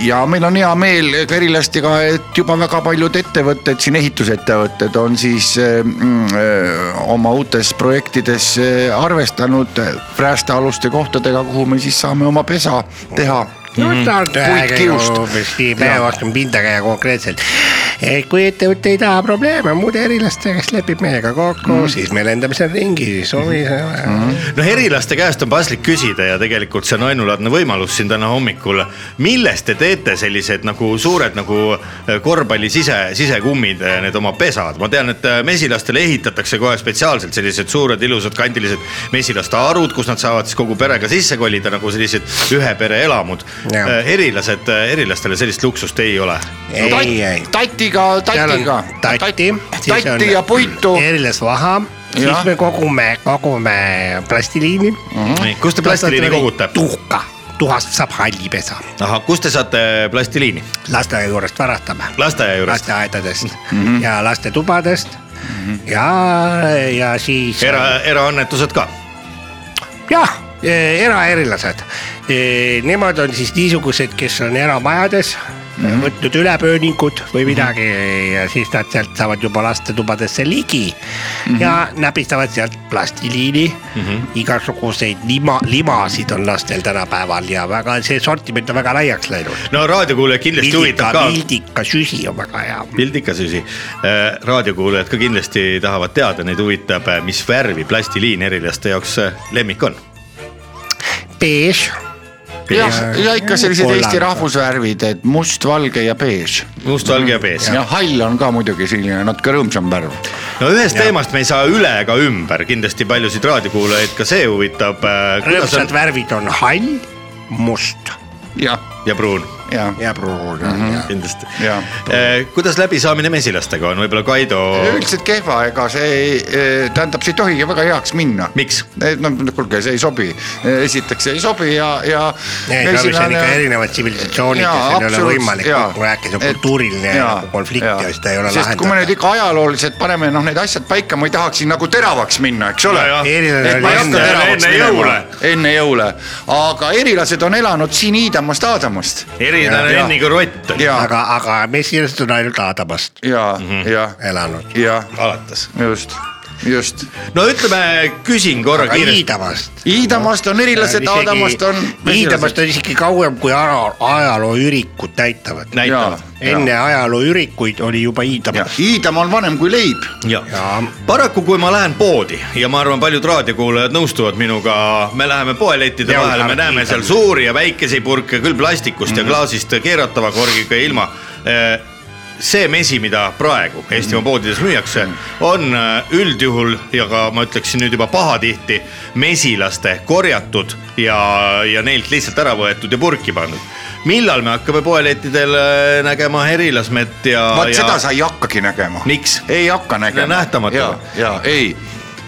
ja meil on hea meel ka erilastega , et juba väga paljud ettevõtted siin , ehitusettevõtted on siis eh, mm, eh, oma uutes projektides eh, arvestanud räästealuste kohtadega , kuhu me siis saame oma pesa teha . no ta on täiega kiust. hoopis nii , me Jaa. oskame pinda käia konkreetselt . kui ettevõte ei taha probleeme muude erilastega , siis lepib meiega kokku mm. , siis me lendame seal ringi , siis omiseme mm. . no herilaste käest on paslik küsida ja tegelikult see on ainulaadne võimalus siin täna hommikul . millest te teete sellised nagu suured nagu korvpalli sise , sisekummid , need oma pesad , ma tean , et äh, mesilastele ehitatakse kohe spetsiaalselt sellised suured ilusad kandilised mesilaste harud , kus nad saavad siis kogu perega sisse kolida nagu sellised ühe pere elamud . Äh, Jah. erilased , erilastele sellist luksust ei ole . ei , ei . tatiga , seal on tatiga . tatti , siis on tatti ja puitu erilas vaha , Jah. siis me kogume , kogume plastiliini mm . kust te plastiliini kogute ? tuhka , tuhast saab hallipesa , ahah , kust te saate plastiliini ? lasteaia juurest varastame , lasteaia juurest ? lasteaedadest mm -hmm. ja lastetubadest mm -hmm. ja , ja siis . era , eraannetused ka jah , eraerilased . Nemad on siis niisugused , kes on eramajades mm Mhm. -hmm. võtnud ülepööningud või midagi mm -hmm. ja siis nad sealt saavad juba lastetubadesse ligi Mhm. mm -hmm. ja näpistavad sealt plastiliini mm . -hmm. igasuguseid lima , limasid on lastel tänapäeval ja väga see sortiment on väga laiaks läinud . no raadiokuulajad kindlasti vildika huvitab , ka . vildika süsi on väga hea . pildikas asi , Äh, raadiokuulajad ka kindlasti tahavad teada , neid huvitab , mis värvi plastiliin erilaste jaoks äh, lemmik on . beež , jah , ja ikka sellised Kollane. Eesti rahvusvärvid , et must , valge ja beež . mustvalge Mhm. ja bees . ja hall on ka muidugi selline natuke rõõmsam värv no ühest teemast me ei saa üle ega ümber , kindlasti paljusid raadiokuulajaid ka see huvitab . äh, rõõmsad värvid on hall , must jah ja pruun ja , ja pruun on ja . kindlasti Äh, Jaa. . kuidas läbisaamine mesilastega on , võib-olla Kaido , üldiselt kehva , ega see ei , tähendab , see ei tohigi väga heaks minna . miks ? no kuulge , see ei sobi , esiteks ei sobi ja , ja . Ei, no mis on ikka erinevad tsivilisatsioonid ja Jaa, see ei ole absoluutselt, võimalik jaa. kokku rääkida , see on Et- kultuuriline jaa, nagu konflikt ja jaa. seda ei ole sest kui me nüüd lahendada . ikka ajalooliselt paneme noh , need asjad paika , ma ei tahaks siin nagu teravaks minna , eks ole . Jajah. eriline oli enne , enne jõule. . enne jõule , aga erilased on elanud siin Iidamast Aadamast erinev Jaa. Enni Krott on ja , aga , aga mesilased on ainult Aadamast ja , Mhm. ja , elanud . ja alates . just , just . no ütleme , küsin korra aga kiiresti . Iidamast . Iidamast on erilased , Aadamast on . Iidamast on isegi kauem , kui ara- ajalooürikud näitavad . näitavad . enne ajalooürikuid oli juba ja Iidamas . Iidam on vanem kui leib . ja Jaa. paraku , kui ma lähen poodi ja ma arvan , paljud raadiokuulajad nõustuvad minuga , me läheme poelettide Ja vahele , me arhiiv näeme on. seal suuri ja väikesi purke küll plastikust Mhm. mm -hmm. ja klaasist keeratava korgiga ja ilma . see mesi , mida praegu Eestimaa Mhm. poodides müüakse , on äh, üldjuhul ja ka ma ütleksin nüüd juba pahatihti mesilaste korjatud ja , ja neilt lihtsalt ära võetud ja purki pandud . millal me hakkame poelettidel äh, nägema herilasmet ja . vaat ja... seda sa ei hakkagi nägema . Miks? ei hakka nägema . nähtamatu. ja , ja ei ,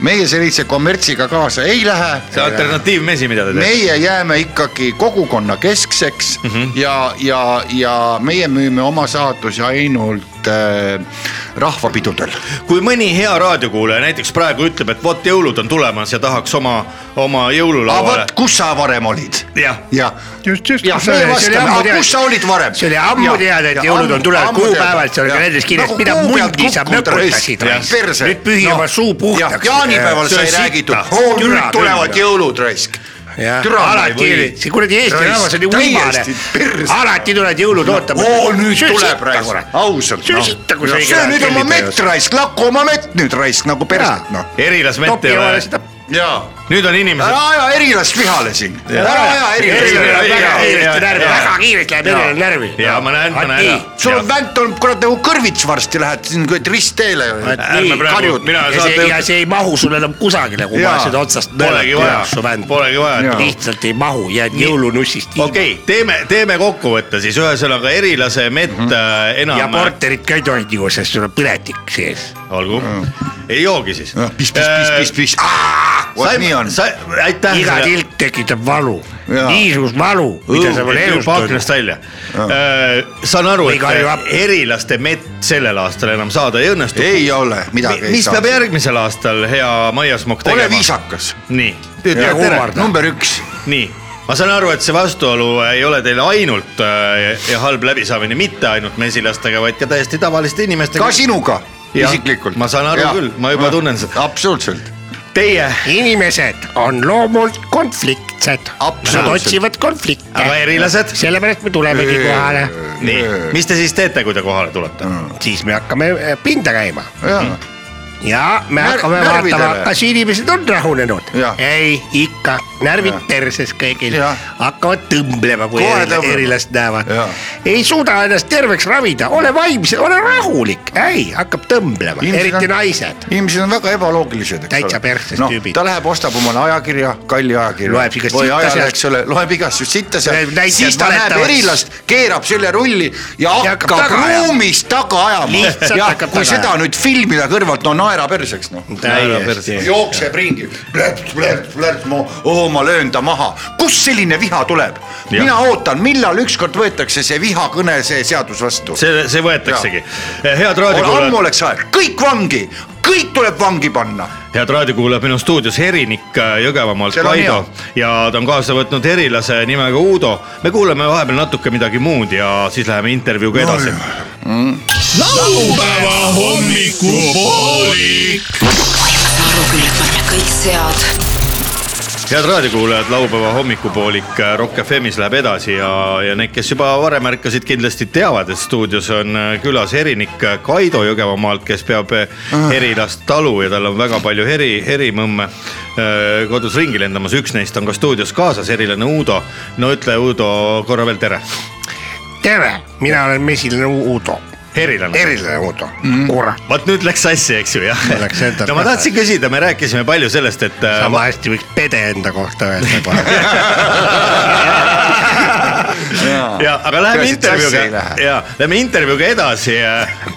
meie sellise kommertsiga kaasa ei see lähe . alternatiivmesi , mida te teete . meie jääme ikkagi kogukonna keskseks mm Mhm. -hmm. ja , ja , ja meie müüme oma saadusi ainult äh, rahvapidudel . kui mõni hea raadiokuulaja näiteks praegu ütleb , et vot jõulud on tulemas ja tahaks oma , oma aga jõululauale Ah, vot , kus sa varem olid ? jah , jah , just , just jah , meie vastame , aga kus sa olid varem ? see oli ammu teada , et jõulud on tulemas , kuupäeval , see oli kalendris kirjas , mida mundi sa mökutasid . perse . nüüd pühi oma suu jah , puhtaks . jaanipäeval sai räägitud , oo nüüd tulevad . jõulud raisk . türa ma ei alati või. , see kuradi Eesti Raisk, rahvas oli uimane täiesti perse. , alati tulevad jõulud ootama . oo nüüd tuleb raisk , ausalt noh. söö sitta , kui sa söö nüüd oma mett . raisk , lakku oma mett nüüd raisk nagu perset noh . erilas topi mette ei omale ole , seda , jaa . nüüd on inimesed ära aja erilast vihale siin , ära aja erilast Eriline- vihale . väga jaa, jaa, kiiresti närvi , jaa. väga kiirelt läheb eriline närvi . ja ma näen , ma näen sul on ära . vänt on kurat nagu kõrvits varsti lähed siin kuradi ristteele . ärme praegu , karjud. mina ja see , ja saate , see ei mahu sul enam kusagile , kui Jaa. ma seda otsast polegi vaja , polegi vaja Jaa. . lihtsalt ei mahu , jääd jõulunussist ilma okei okay, , teeme , teeme kokkuvõtte siis , ühesõnaga erilase mett Mhm. mm -hmm. enam . ja korterit ka ei tohi juua , sest sul on põletik sees . olgu , ei joogi siis . Mhm. Noh, Ah, pis , pis , pis , pis , Äh, pis , vot nii on . aitäh . iga tilk tekitab valu , Jaa. niisugust valu , mida sa pole elus aknast tundnud . välja . saan aru , Või karju et appi. erilaste mett sellel aastal enam saada ei õnnestu . ei ole midagi . mis peab järgmisel aastal hea Maia Smokk tegema ? ole . viisakas . nii , Ja tere , kumarda. number üks nii , ma saan aru , et see vastuolu ei ole teil ainult äh, ja halb läbisaamine mitte ainult mesilastega , vaid ka täiesti tavaliste inimestega . ka sinuga Jah, isiklikult . ma saan aru küll, ma juba tunnen seda. absoluutselt , Teie , inimesed on loomult konfliktsed , nad Absoluutselt. otsivad konflikte Äh. aga . erilased , sellepärast me tulemegi kohale , nii , mis te siis teete , kui te kohale tulete ? siis me hakkame äh, pinda käima jaa , ja me När- hakkame närvidele. vaatama , kas inimesed on rahunenud Jah. . ei , ikka närvid Jah. perses kõigil Jah. , hakkavad tõmblema , kui Kohe erila- tõmblevad. erilast näevad Jah. . ei suuda ennast terveks ravida , ole vaimse , ole rahulik , ei , hakkab tõmblema , Inimesed eriti on- naised . inimesed on väga ebaloogilised , eks Täitsa ole. Noh, perses tüübid. ta läheb , ostab omale ajakirja , kalli ajakirja . Loeb igast või sitta ajaleht , sealt. eks ole , loeb igast just sitta Näeb sealt , näitajad siis ta näeb valetavad. erilast , keerab selle rulli ja Ja hakkab hakkab taga ajama. ruumis taga ajama Lihtsalt . jah hakkab , kui taga seda ajama. nüüd filmida kõrvalt , no naera perseks noh . perses. täiesti , jookseb ringi , plärts , plärts , plärts , ma , oo , ma löön ta maha . kust selline viha tuleb ? mina ootan , millal ükskord võetakse see vihakõne , see seadus vastu . see , see võetaksegi . head raadiokuulajad ammu . oleks aeg , kõik vangi , kõik tuleb vangi panna . head raadiokuulajad , meil on stuudios herinik äh, Jõgevamaalt Seal on Kaido ja ta on kaasa võtnud herilase nimega Uudo . me kuulame vahepeal natuke midagi muud ja siis läheme intervjuuga edasi no, . laupäeva hommikupoolik . Aru küll , et võta kõik sead . head raadiokuulajad , laupäeva hommikupoolik äh, Rock FM-is läheb edasi ja , ja need , kes juba varem ärkasid , kindlasti teavad , et stuudios on äh, külas herinik äh, Kaido Jõgevamaalt , kes peab äh, herilast talu ja tal on väga palju heri , herimõmme äh, kodus ringi lendamas , üks neist on ka stuudios kaasas , herilane Uudo . no ütle , Uudo , korra veel tere . tere , mina olen mesilane U- Uudo , herilane . eriline Uudo , Mhm. kurat . vot nüüd läks sassi , eks ju jah Mul läks endal no ma ka tahtsin küsida , me rääkisime palju sellest , et . Äh, äh, sama hästi võiks pede enda kohta öelda kohe . Jaa. ja , aga läheme Peaasi, et intervjuuga sassi ei lähe. ja lähme intervjuuga edasi .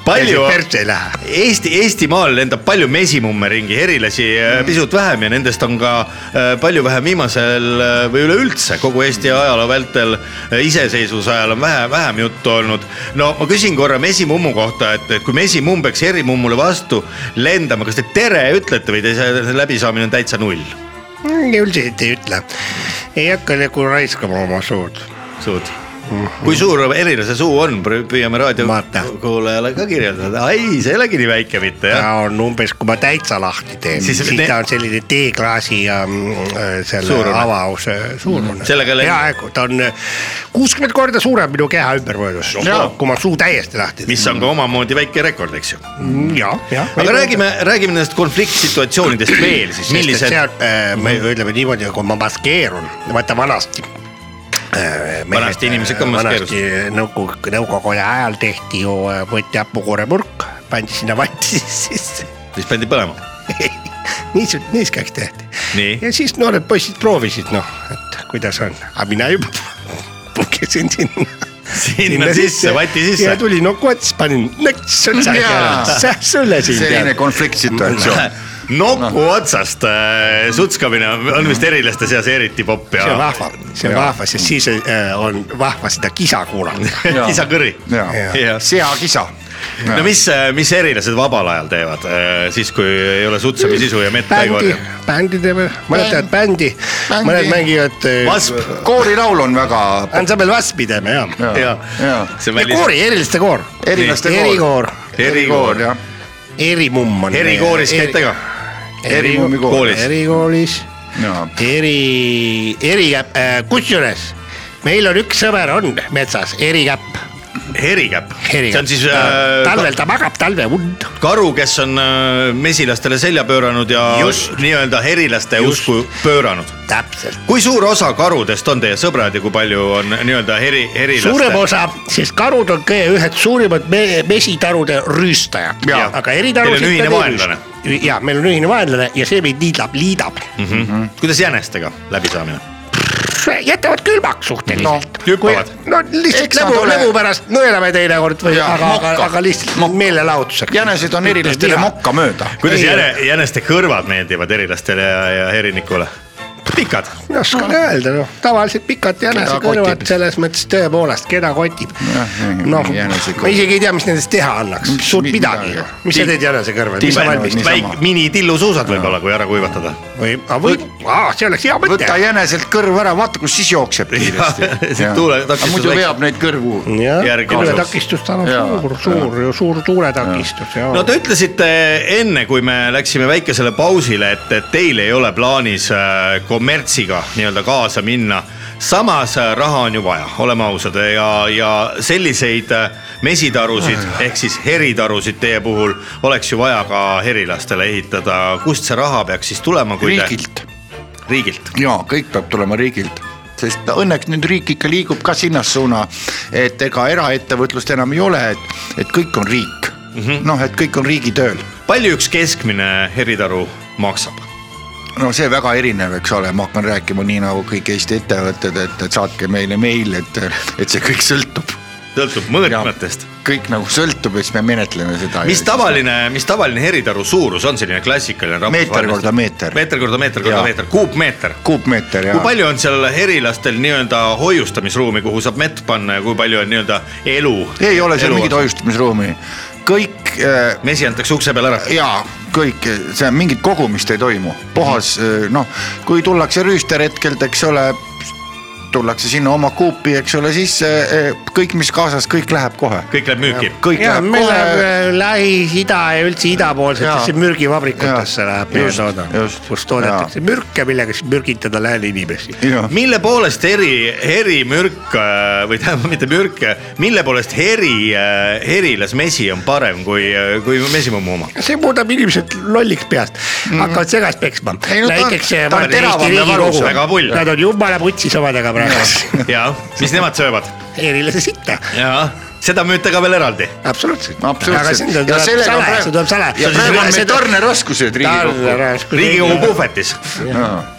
palju Peaasi, et perse ei lähe. Eesti , Eestimaal lendab palju mesimumme ringi , herilasi mm. pisut vähem ja nendest on ka äh, palju vähem viimasel äh, või üleüldse kogu Eesti ajaloo vältel , iseseisvuse ajal on vähe , vähem juttu olnud . no ma küsin korra mesimummu kohta , et , et kui mesimumm peaks herimummule vastu lendama , kas te tere ütlete või teie läbisaamine on täitsa null ? üldiselt ei ütle , ei hakka nagu raiskama oma suud . suud . kui suur erilase suu on , püüame Marta. raadiokuulajale ka kirjeldada , ai , see ei olegi nii väike mitte jah . ta on umbes , kui ma täitsa lahti teen , Siis siis, siis ne- ne... ta on selline teeklaasi ja mm, äh, selle Suurune. suurune. avause suurune . Mhm. Sellega läbi- peaaegu , ta on äh, kuuskümmend korda suurem minu keha ümbervõõdus , kui ma suu täiesti lahti teen . mis on ka omamoodi väike rekord , eks ju . ja , ja . Mhm. aga räägime , räägime nendest konfliktsituatsioonidest veel siis , millised see . on , me äh, ütleme niimoodi , kui ma maskeerun , vaata vanasti . Vanasti inimesed ka maskeerusid. vanasti nõukogu , nõukogude ajal tehti ju , võeti hapukooremurk , pandi sinna vanti sisse siis pandi põlema . niisugune , niiskeks tehti Nii. . ja siis noored poisid proovisid noh , et kuidas on , aga mina juba pukisin sinna . sinna sisse , vati ja sisse . tuli nokk , siis panin nõks otsa Jaa. ja säh sulle siin . selline konfliktsituatsioon . noku otsast äh, sutskabine on vist erilaste seas eriti popp see on ja vahva , see on vahva , sest siis äh, on vahva seda kisa kuulata . kisakõri . jaa , Jah. seakisa . no mis , mis erilased vabal ajal teevad äh, siis , kui ei ole sutsamissisu ja mett ka ei bändi korja ?, bändi teeme , mõned teevad bändi , Bändi. mõned mängivad . äh, Vasp . koorilaul on väga . ansambel Vaspi teeme jah . ja jaa. , see on ja välis- , koori , eriliste koor . erilaste koor . erikoor , erikoor , jah . erimumm on . erikooris käite ka ? Erimummi kool. Koolis. erikoolis , jaa , eri , erikäpp äh, , kusjuures meil on üks sõber on metsas , erikäpp . erikäpp , see Erikäpp. on siis Ta- äh, talvel ta magab talveund . karu , kes on äh, mesilastele selja pööranud ja Just. nii-öelda herilaste usku pööranud . täpselt . kui suur osa karudest on teie sõbrad ja kui palju on nii-öelda heri , herilaste ? suurem osa , sest karud on kõige ühed suurimad me mesitarude rüüstajad Jaa. . aga eritarusid . Teil on ühine vaenlane. . ja meil on ühine vaenlane ja see meid liidab , liidab . mm . Mhm. -hmm. kuidas jänestega läbisaamine ? jätavad külmaks Noh, suhteliselt . hüppavad. no lihtsalt Eks nad lõbu , ole- lõbu pärast nõelame teinekord või , Jaa, aga , aga , mokka. aga lihtsalt Mokka. meelelahutuseks . jänesed on erilastele mokka mööda . kuidas Ei jäne , jäneste kõrvad meeldivad erilastele ja , ja herinikule ? pikad , ei oska öelda , noh , tavaliselt pikad jänesekõrvad kotib. selles mõttes tõepoolest , keda kotib . Jah, noh , jänesekõrv. ma isegi ei tea , mis nendest teha annaks , Mis- suurt mi- midagi midagi. ju . mis sa teed jänesekõrvadega , mis sa Tibenevad valmistad ? niisama. väike minitillusuusad võib-olla , kui ära kuivatada . või , või , see oleks hea mõte . võta jäneselt kõrv ära , vaata kus siis jookseb kiiresti . see tuule- takistus muidu väike. veab neid kõrvu . jah , järgi kasuks. tuuletakistus tal on Jaa. suur , suur ju , suur tuuletakistus ja no te ütlesite enne , kui me läksime väikesele pausile , et , et teil ei ole plaanis äh, kommertsiga nii-öelda kaasa minna . samas äh, raha on ju vaja , oleme ausad ja , ja selliseid äh, mesitarusid ehk siis heritarusid teie puhul oleks ju vaja ka herilastele ehitada . kust see raha peaks siis tulema , kui riigilt . te ? riigilt . jaa , kõik peab tulema riigilt , sest õnneks nüüd riik ikka liigub ka sinnas suuna , et ega eraettevõtlust enam ei ole , et , et kõik on riik mm Mhm. -hmm. noh , et kõik on riigi tööl , palju üks keskmine heritaru maksab ? no see väga erinev , eks ole , ma hakkan rääkima nii nagu kõik Eesti ettevõtted , et , et saatke meile meil , et , et see kõik sõltub . sõltub mõõtmetest . kõik nagu sõltub ja siis me menetleme seda . mis ? tavaline , mis tavaline heritaru suurus on selline klassikaline meeter rahvusvaheline- korda meeter , meeter korda meeter korda Jaa. meeter , kuupmeeter . kuupmeeter ja kui . palju on seal herilastel nii-öelda hoiustamisruumi , kuhu saab mett panna ja kui palju on nii-öelda elu ? ei ole seal mingit . hoiustamisruumi , kõik äh, mesi antakse ukse peal ära . jaa , kõik , see mingit kogumist ei toimu , puhas noh , kui tullakse rüüsterhetkelt , eks ole , tullakse sinna oma kuupi , eks ole , sisse , kõik , mis kaasas , kõik läheb kohe . kõik läheb müüki . kõik ja läheb e, meil läheb kohe , äh, Lähis-Ida ja üldse idapoolsetesse Jaa. mürgivabrikutesse Jaa. läheb meie Just, toodang just. , kus toodetakse mürke , millega siis mürgitada lääne inimesi . jah , mille poolest heri , herimürk äh, või tähendab mitte mürk , mille poolest heri , herilas mesi on parem kui , kui mesimummu oma ? see muudab inimesed lolliks peast mm , -hmm. hakkavad segast peksma . Mhm. Ei, no ta on- näiteks ta on vaata teravam Eesti ja Riigikogu valus, , väga pull. nad on jumala putsis omadega praegu , ja mis nemad söövad ? erilise sitta ja seda müüte ka veel eraldi . absoluutselt . absoluutselt . ja sellega on see tuleb salaja , ja praegu on meil tarneraskused Riigikokku . riigikogu puhvetis .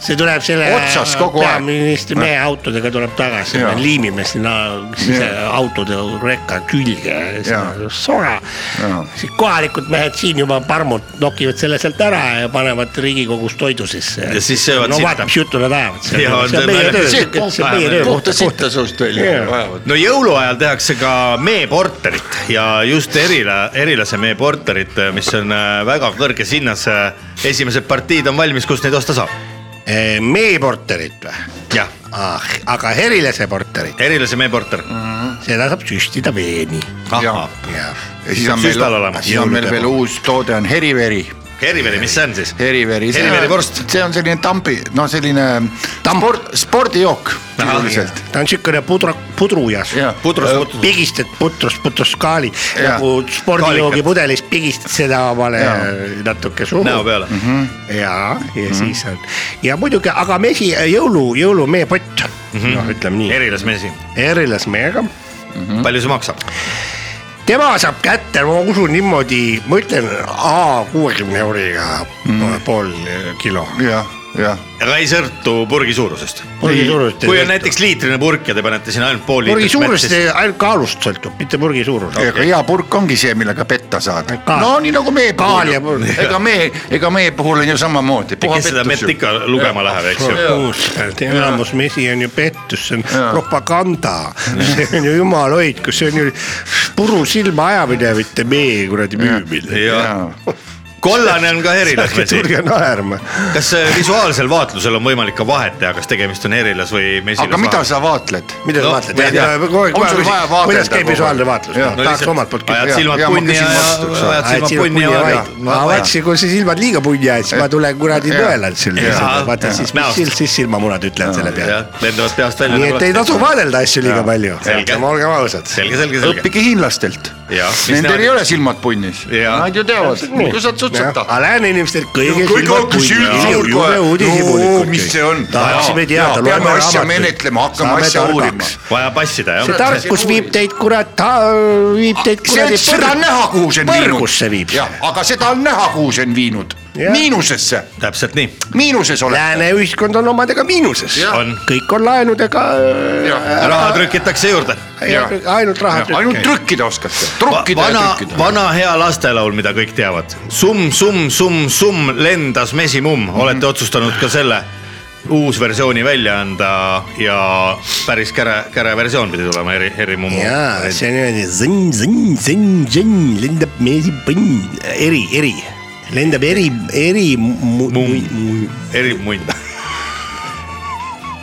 see tuleb selle Otsas kogu aeg. peaministri mehe autodega tuleb tagasi Jaa. , liimime sinna siis Jaa. autode rekka külge , Jaa. sora Jaa. . siis kohalikud mehed siin juba parmud nokivad selle sealt ära ja panevad Riigikogus toidu sisse . Ja siis söövad no sitta. vaata , mis juttu nad ajavad Jaa, seal . see on see- meie töö , see- see on meie töö . puhta sitta suust välja vajavad . no jõuluajal tehakse ka meeporterit ja just Erila , Erilase meeporterit , mis on äh, väga kõrges hinnas . esimesed partiid on valmis , kust neid osta saab . Eh, meeporterit või ? jah , ah , aga herilase porterit , Erilase meeporter . seda saab süstida veeni . ja ahah , siis on meil Süstal olemas. , siis on meil veel uus toode on heriveri . Heriveri , mis see on siis ? heriveri . Heriverivorst. . see on selline tampi , noh , selline sport , spordijook sisuliselt . ta on siukene pudra , pudru ja Jaa. pudrus , pudrus . pigistad putrust , putrustkaali Jaa. nagu spordijoogi Kaalikat. pudelis , pigistad seda omale Jaa. natuke suhu . näo peale . Mhm. ja , ja siis on ja muidugi , aga mesi , jõulu , jõulumeepott mm -hmm. , noh , ütleme nii , Erilasmesi , erilasmeega palju see maksab ? tema saab kätte , ma usun niimoodi , ma ütlen A kuuekümne euriga mm. pool kilo . jah , jah . aga ei sõltu purgi suurusest . kui on purgi näiteks liitrine purk ja te panete sinna ainult pool liitrit . suurusest , ainult kaalust sõltub , mitte purgi suurus . ega hea purk ongi see , millega petta saada Kaal. . no nii nagu mee Kaal ja puhul purk. , ega mee , ega mee puhul on ju samamoodi . kes seda mett ikka lugema läheb , eks ju . absoluutselt , enamus mesi on ju pettus , see on Jaa. propaganda , see on ju jumal hoidku , see on ju puru silma ajamine , mitte meie kuradi müümine . ja jaa , kollane on ka erilasmesi . tulge naerma , kas äh, visuaalsel vaatlusel on võimalik ka vahet teha , kas tegemist on erilas või mesilas ? aga mida sa vaatled ? mida te No, ma ei tea. On sul vaja vaatate ? vaadelda kuidas käib kogu visuaalne aeg? vaatlus , Jaa. no, tahaks omalt poolt ajad Jaa, küsida . silmad jaa, ma punni ja küsin vastu, , eks ole. ajad silmad punni ja vaid- ma vaid- vaatasin , kui sa silmad liiga punni ajad , siis ma tulen kuradi Jaa. nõelan sulle Jaa. , vaata siis Näost. , siis silmamunad ütlevad selle peale jah , lendavad peast välja . nii et ei tasu vaadelda asju liiga palju , Selge. olgem ausad . selge , selge , selge . õppige hiinlastelt . Jah, mis Nendel nemad- ei ole silmad punnis . Jah. Nad ju teavad , kuidas nad sutsetavad . aga lääne inimestel kõige Kõik hakkas üld- suur kohe. No, mis see on? tahaksime Jaa, teada . peame asja menetlema, hakkame asja uurima. vaja passida see jah . tarkus viib teid kurat , viib teid see , kuradi et seda on näha , kuhu see on viinud . põrgusse viib . jah , aga seda on näha , kuhu see on viinud . Jah. miinusesse , täpselt nii , miinuses oled . Lääne ühiskond on omadega miinuses , on . kõik on laenudega , raha trükitakse juurde . Jah. ainult raha ainult trükk . trükkida oskate , trukkida ja vana , trükkida . vana hea lastelaul , mida kõik teavad . summ , summ , summ , summ , lendas mesimumm , olete otsustanud ka selle uusversiooni välja anda ja päris käre , käre versioon pidi tulema eri , eri mummu . jaa , see on niimoodi sõnn , sõnn , sõnn , sõnn , lendab mees põnn , eri , eri , lendab eri , eri . eri mund .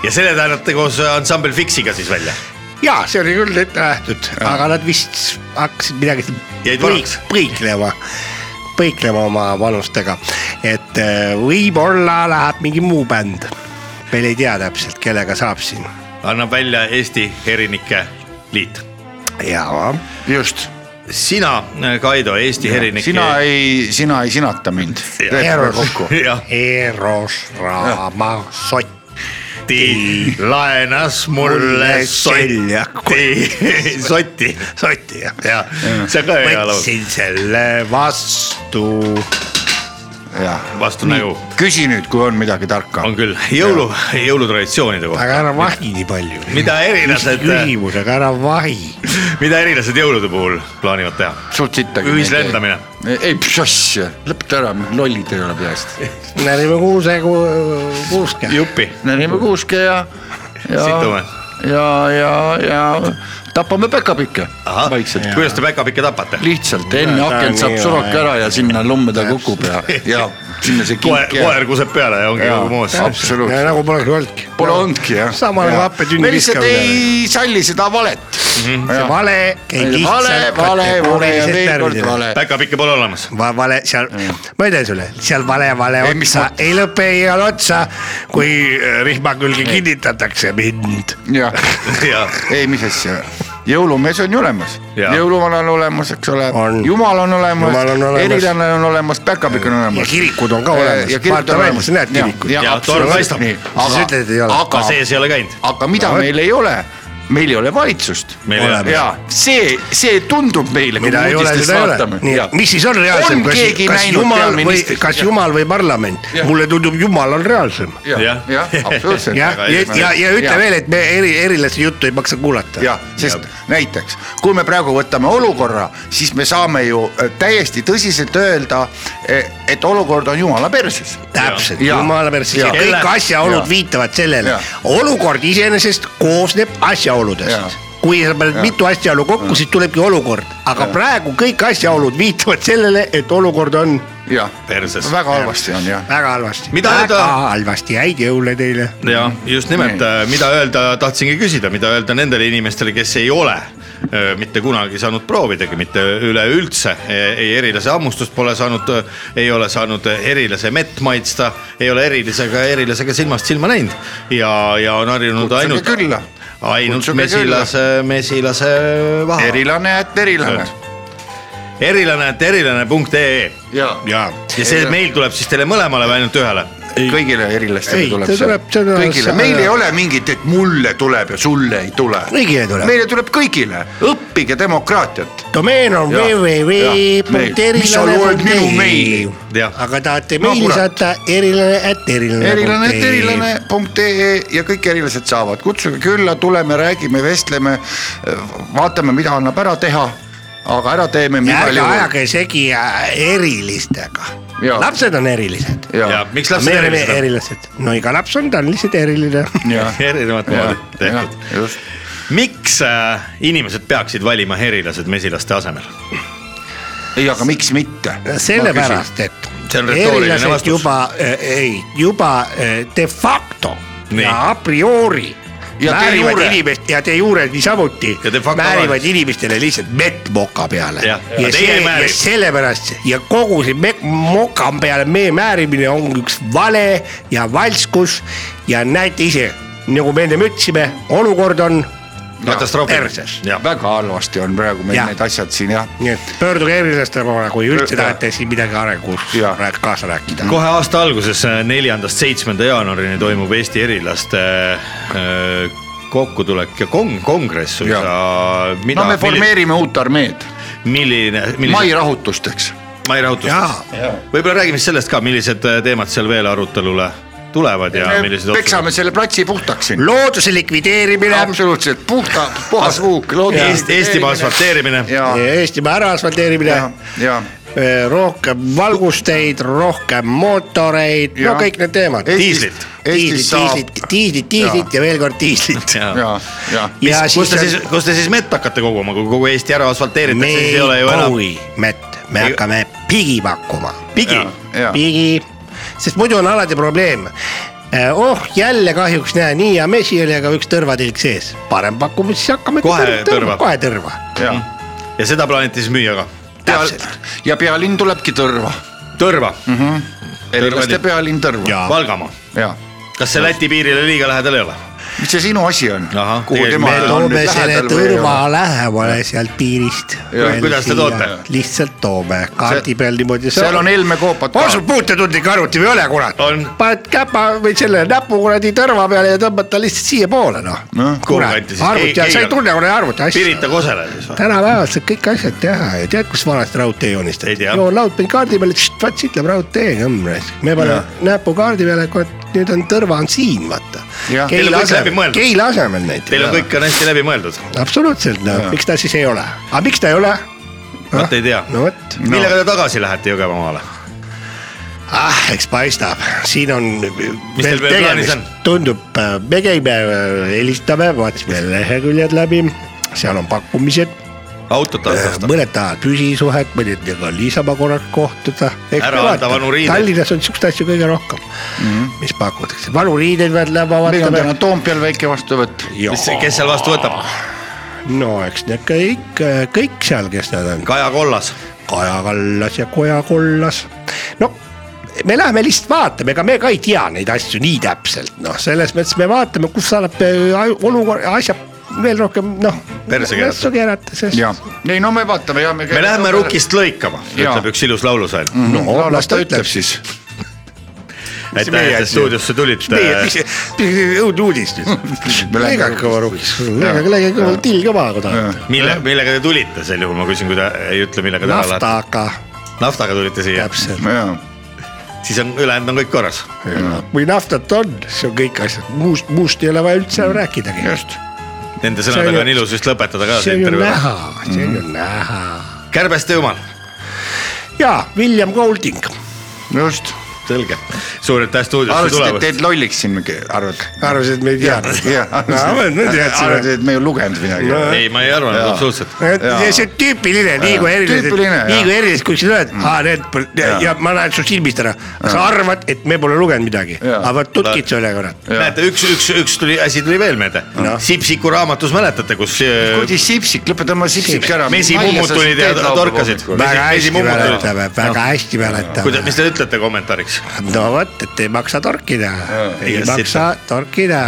ja selle te annate koos ansambel Fixiga siis välja . jaa , see oli küll ette nähtud , aga nad vist hakkasid midagi Jäid põik- vanaks. põiklema , põiklema oma vanustega . et eh, võib-olla läheb mingi muu bänd , veel ei tea täpselt , kellega saab siin . annab välja Eesti Herinike Liit . jaa , just , sina , Kaido , Eesti Herinike . sina . ei , sina ei sinata mind . Eros. jah , Eros Ramasott . ti laenas mulle Mulle sotti seljaku- , sotti , Sotti jah , jah , see on ka hea laul , võtsin selle vastu . vastu nägu küsi nüüd , kui on midagi tarka . on küll , jõulu , jõulutraditsioonide kohta , aga ära vahi nii palju . mida erilased , küsimus , aga ära vahi . mida erilased jõulude puhul plaanivad teha ? suht sittagi . ühislendamine. . ei , mis asja , lõpeta ära , lollid ei ole peast . närime kuuse , kuuske . juppi , närime kuuske ja , situme ja , ja , ja , ja tapame päkapikke ahah , vaikselt . kuidas te päkapikke tapate ? lihtsalt enne ta on akent saab nii surok hea, ära ja sinna lomme ta kukub ja , ja sinna see koer , kink koer kuseb peale ja ongi kogu moos . absoluutselt , nagu poleks olnudki . pole olnudki jah . Samal ajal happetünni me lihtsalt viskamine. ei salli seda valet . Mhm. see vale käib vale , lihtsalt . vale , vale ja veel kord . vale . päkapikke pole olemas . Va, vale seal , ma ütlen sulle , seal vale , vale Ei, ei, mis otsa mõttes? ei lõpe , ei ole otsa , kui äh, rihma külge kinnitatakse mind . jah , ja , ei mis asja , jõulumees on ju olemas , Jaa. jõuluvana on olemas , eks ole jumal On. , on Jumal on olemas , olemas. erilane on olemas , päkapikk on ja olemas . kirikud on ka olemas , vaata välja , sa näed kirikut . Ja torm paistab. Siis ütled, et ei ole. aga sees ei ole käinud . aga mida meil ei ole , meil ei ole valitsust . Meil ei ole. ja see , see tundub meile , kui mida me ei ole , uudistest seda ei vaatame ole .. nii , mis siis on reaalsem , on kas keegi , kas näinud jumal või , peaministrit ? kas jumal või parlament Jah. ? mulle tundub , jumal on reaalsem . Jah. jah , jah , absoluutselt . jah , ja , ja , ja ütle . veel , et me eri , erilaste juttu ei maksa kuulata . jah , sest ja. näiteks kui me praegu võtame olukorra , siis me saame ju äh, täiesti tõsiselt öelda , et olukord on jumala perses . täpselt , Jaa. jumala pärast , Jaa. kõik asjaolud Jaa. viitavad sellele Jaa. , olukord iseenesest koosneb Jaa. asjaoludest kui sa paned mitu asjaolu kokku , siis tulebki olukord , aga praegu kõik asjaolud viitavad sellele , et olukord on jah , Perses. väga halvasti on jah . väga halvasti . Mida väga öelda- halvasti , häid jõule teile . ja just nimelt , mida öelda , tahtsingi küsida , mida öelda nendele inimestele , kes ei ole öö, mitte kunagi saanud proovidagi , mitte üleüldse e- ei erilase hammustust pole saanud , ei ole saanud erilase mett maitsta , ei ole erilisega , erilisega silmast silma näinud ja , ja on harjunud Kutsuge ainult külla. , ainult Kutsuge külla. mesilase , mesilase vaha . erilane , et erilane . erilane , et erilane.ee ja, ja. , ja see Erilane. meil tuleb siis teile mõlemale või ainult ühele ? kõigile erilastele Ei, tuleb see see tuleb- . see tuleb- kõigile , meil ei ole mingit , et mulle tuleb ja sulle ei tule . Kõigile tuleb. meile tuleb kõigile , õppige demokraatiat . domeen on Jaa, jaa, meil. Mis sa loed minu meili? www.erilane.ee , Jah. aga tahate No meili kurat. saata erilane , et erilane . erilane , et . erilane punkt ee ja kõik erilased saavad , kutsuge külla , tuleme , räägime , vestleme , vaatame , mida annab ära teha , aga ära teeme ja igal ärge juhul . ajage segi erilistega Jaa. . lapsed on erilised . ja ja , miks lapsed me oleme erilised on ? erilised , no iga laps on , ta on lihtsalt eriline . ja , erinevat ja moodi , tehtud . just , miks äh, inimesed peaksid valima herilased mesilaste asemel ? ei , aga miks mitte ? sellepärast , et See on retooriline erilased vastus. juba äh, , ei , juba äh, de facto Nii. Nii. ja a priori Ja de määrivad jure. inimest ja de jure niisamuti Ja de facto määrivad vahest. inimestele lihtsalt mett moka peale . Jah, ja, aga ja, teie ei see, määri. ja sellepärast ja kogu see me- moka peale mee määrimine on üks vale ja valskus ja näete ise , nagu me ennem ütlesime , olukord on perses. katastroofiline . väga halvasti on praegu meil Jah. need asjad siin jah , nii et pöörduge erilaste poole , kui üldse Jah. tahate siin midagi arengus Jah. rääk- kaasa rääkida . kohe aasta alguses , neljandast seitsmenda jaanuarini toimub Eesti erilaste äh, kokkutulek ja kong- , kongress suisa no me . formeerime uut armeed , milline , mai milline , rahutusteks . Mai rahutus . võib-olla räägime siis sellest ka , millised äh, teemad seal veel arutelule tulevad ja, ja millised peksame . selle platsi puhtaks siin . looduse likvideerimine , absoluutselt puhta , puhas puuk . Eesti , Eestimaa asfalteerimine . ja , Eestimaa ära asfalteerimine Äh, ja , ja rohkem valgusteid , rohkem mootoreid , no Jah. kõik need teemad . Eestis- Diislit. E-, Eestis diislit , saab , diislit , diislit , diislit ja veel kord diislit . ja , ja ja kus siis te siis on , kus te siis mett hakkate koguma , kui kogu Eesti ära asfalteeritakse , me siis ei ei ole ju enam kooli mett , me Ei- hakkame pigi pakkuma . pigi Ja. Jaa. pigi , sest muidu on alati probleem . oh , jälle kahjuks näe , nii hea mesi oli , aga üks tõrvatilk sees . parem pakume , siis hakkame Kohe tõrva. kohe tõrva . ja , ja seda plaaniti siis müüa ka . täpselt . ja pealinn tulebki Tõrva , Tõrva , erilaste Tõrva- pealinn Tõrva . Jaa. Valgamaa , ja , kas see Läti piirile liiga lähedal ei ole ? mis see sinu asi on Ahah, ? kuhu tegelikult tema me on toome nüüd selle lähedal või ei tõrva ole ? lähemale sealt piirist . kuidas te toote? ? lihtsalt toome kaardi See- peal niimoodi . seal on Oh. Helme koopad ka. ka . on sul puututundlik arvuti või ei ole , kurat ? On. paned käpa või selle näpu kuradi tõrva peale ja tõmbad ta lihtsalt siiapoole , Noh, noh . kuhu kanti siis? arvuti Ei- all , sa ei- ei tunne kuradi arvuti Pirita asja . Kosele siis või ? tänapäeval saad kõik asjad teha ja tead , kus vanasti raudtee Ei joonistati tea. ? joonlaud pani kaardi peale , vaat siit läheb raudtee kõmm raisk . me paneme näpu kaardi peale , kurat , nüüd on tõrva on siin , vaata Jah. . Teil on kõik Keila läbi asemel , mõeldud. Keila asemel näiteks . Teil on kõik on hästi läbimõeldud , absoluutselt , no miks ta siis ei ole , aga miks ta ei ole ? vot ei tea . no vot , millega te tagasi lähete Jõgevamaale ? ah , eks paistab , siin on . teil veel plaanis on? tundub , me käime , helistame , vaatasime leheküljed läbi , seal on pakkumised , autot Äh, osta . mõned tahavad püsisuhet , mõnedega on niisama korraks kohtuda . Ära anda vanu riideid. Tallinnas on siukseid asju kõige rohkem mm , -hmm. mis pakutakse , vanu riideid veel läbi Mhm. meil on täna vaatame . Toompeal väike vastuvõtt . kes seal vastu võtab ? no eks need kõik , kõik seal , kes nad on . Kaja Kollas . Kaja Kallas ja Koja Kollas . no me läheme lihtsalt vaatame , ega me ka ei tea neid asju nii täpselt , noh , selles mõttes me vaatame , kus saab olukord , asjad veel rohkem noh . Perse keerata. keerata , sest ja , ei no me vaatame ja . me läheme . rukist lõikama , Jaa. ütleb üks ilus laulusalm Mhm. mm. . no las las ta ta ütleb siis . äh, aitäh , et te stuudiosse tulite . meie , õudne uudis nüüd . lõigake oma ruumis , lõigake , lõigake oma till ka maha , kui tahate . mille , millega te tulite sel juhul , ma küsin , kui te ei ütle , millega te ära lähete . naftaga , naftaga tulite siia , täpselt . jaa , siis on ülejäänud on kõik korras . kui naftat on , siis on kõik asjad , muust , muust ei ole vaja üldse Mm. enam rääkidagi . just , Nende See sõnadega on on- ilus vist lõpetada ka see see on ju intervjuu . näha , see on ju Mm. näha . kärbeste jumal , ja William Golding , just . selge , suur aitäh stuudiosse arvasid , et tulemast . teed lolliks siin mingi , arvad ? arvasid , et me ei teadnud . me arvasid , teadsime . et me ei ole lugenud midagi No. . ei , ma ei arvanud Jaa. absoluutselt . Jaa. see on tüüpiline , nii kui erilised , Tüüpiline, nii jah. kui erilised , kui sa tuled , aa need ja, Jaa. ja ma näen su silmist ära , sa arvad , et me pole lugenud midagi , Jaa. aga vot tutkid selle kurat . näete , üks , üks , üks tuli , asi tuli veel meelde no. . Sipsiku raamatus mäletate , kus äh, kuradi sipsik , lõpeta oma sipsiks ära . mesimummud tulid ja torkasid . väga hästi mäletame , väga hästi mäletame kuidas ,. mis te ütlete kommentaariks ? no vot , et ei maksa torkida , ei Igast maksa torkida .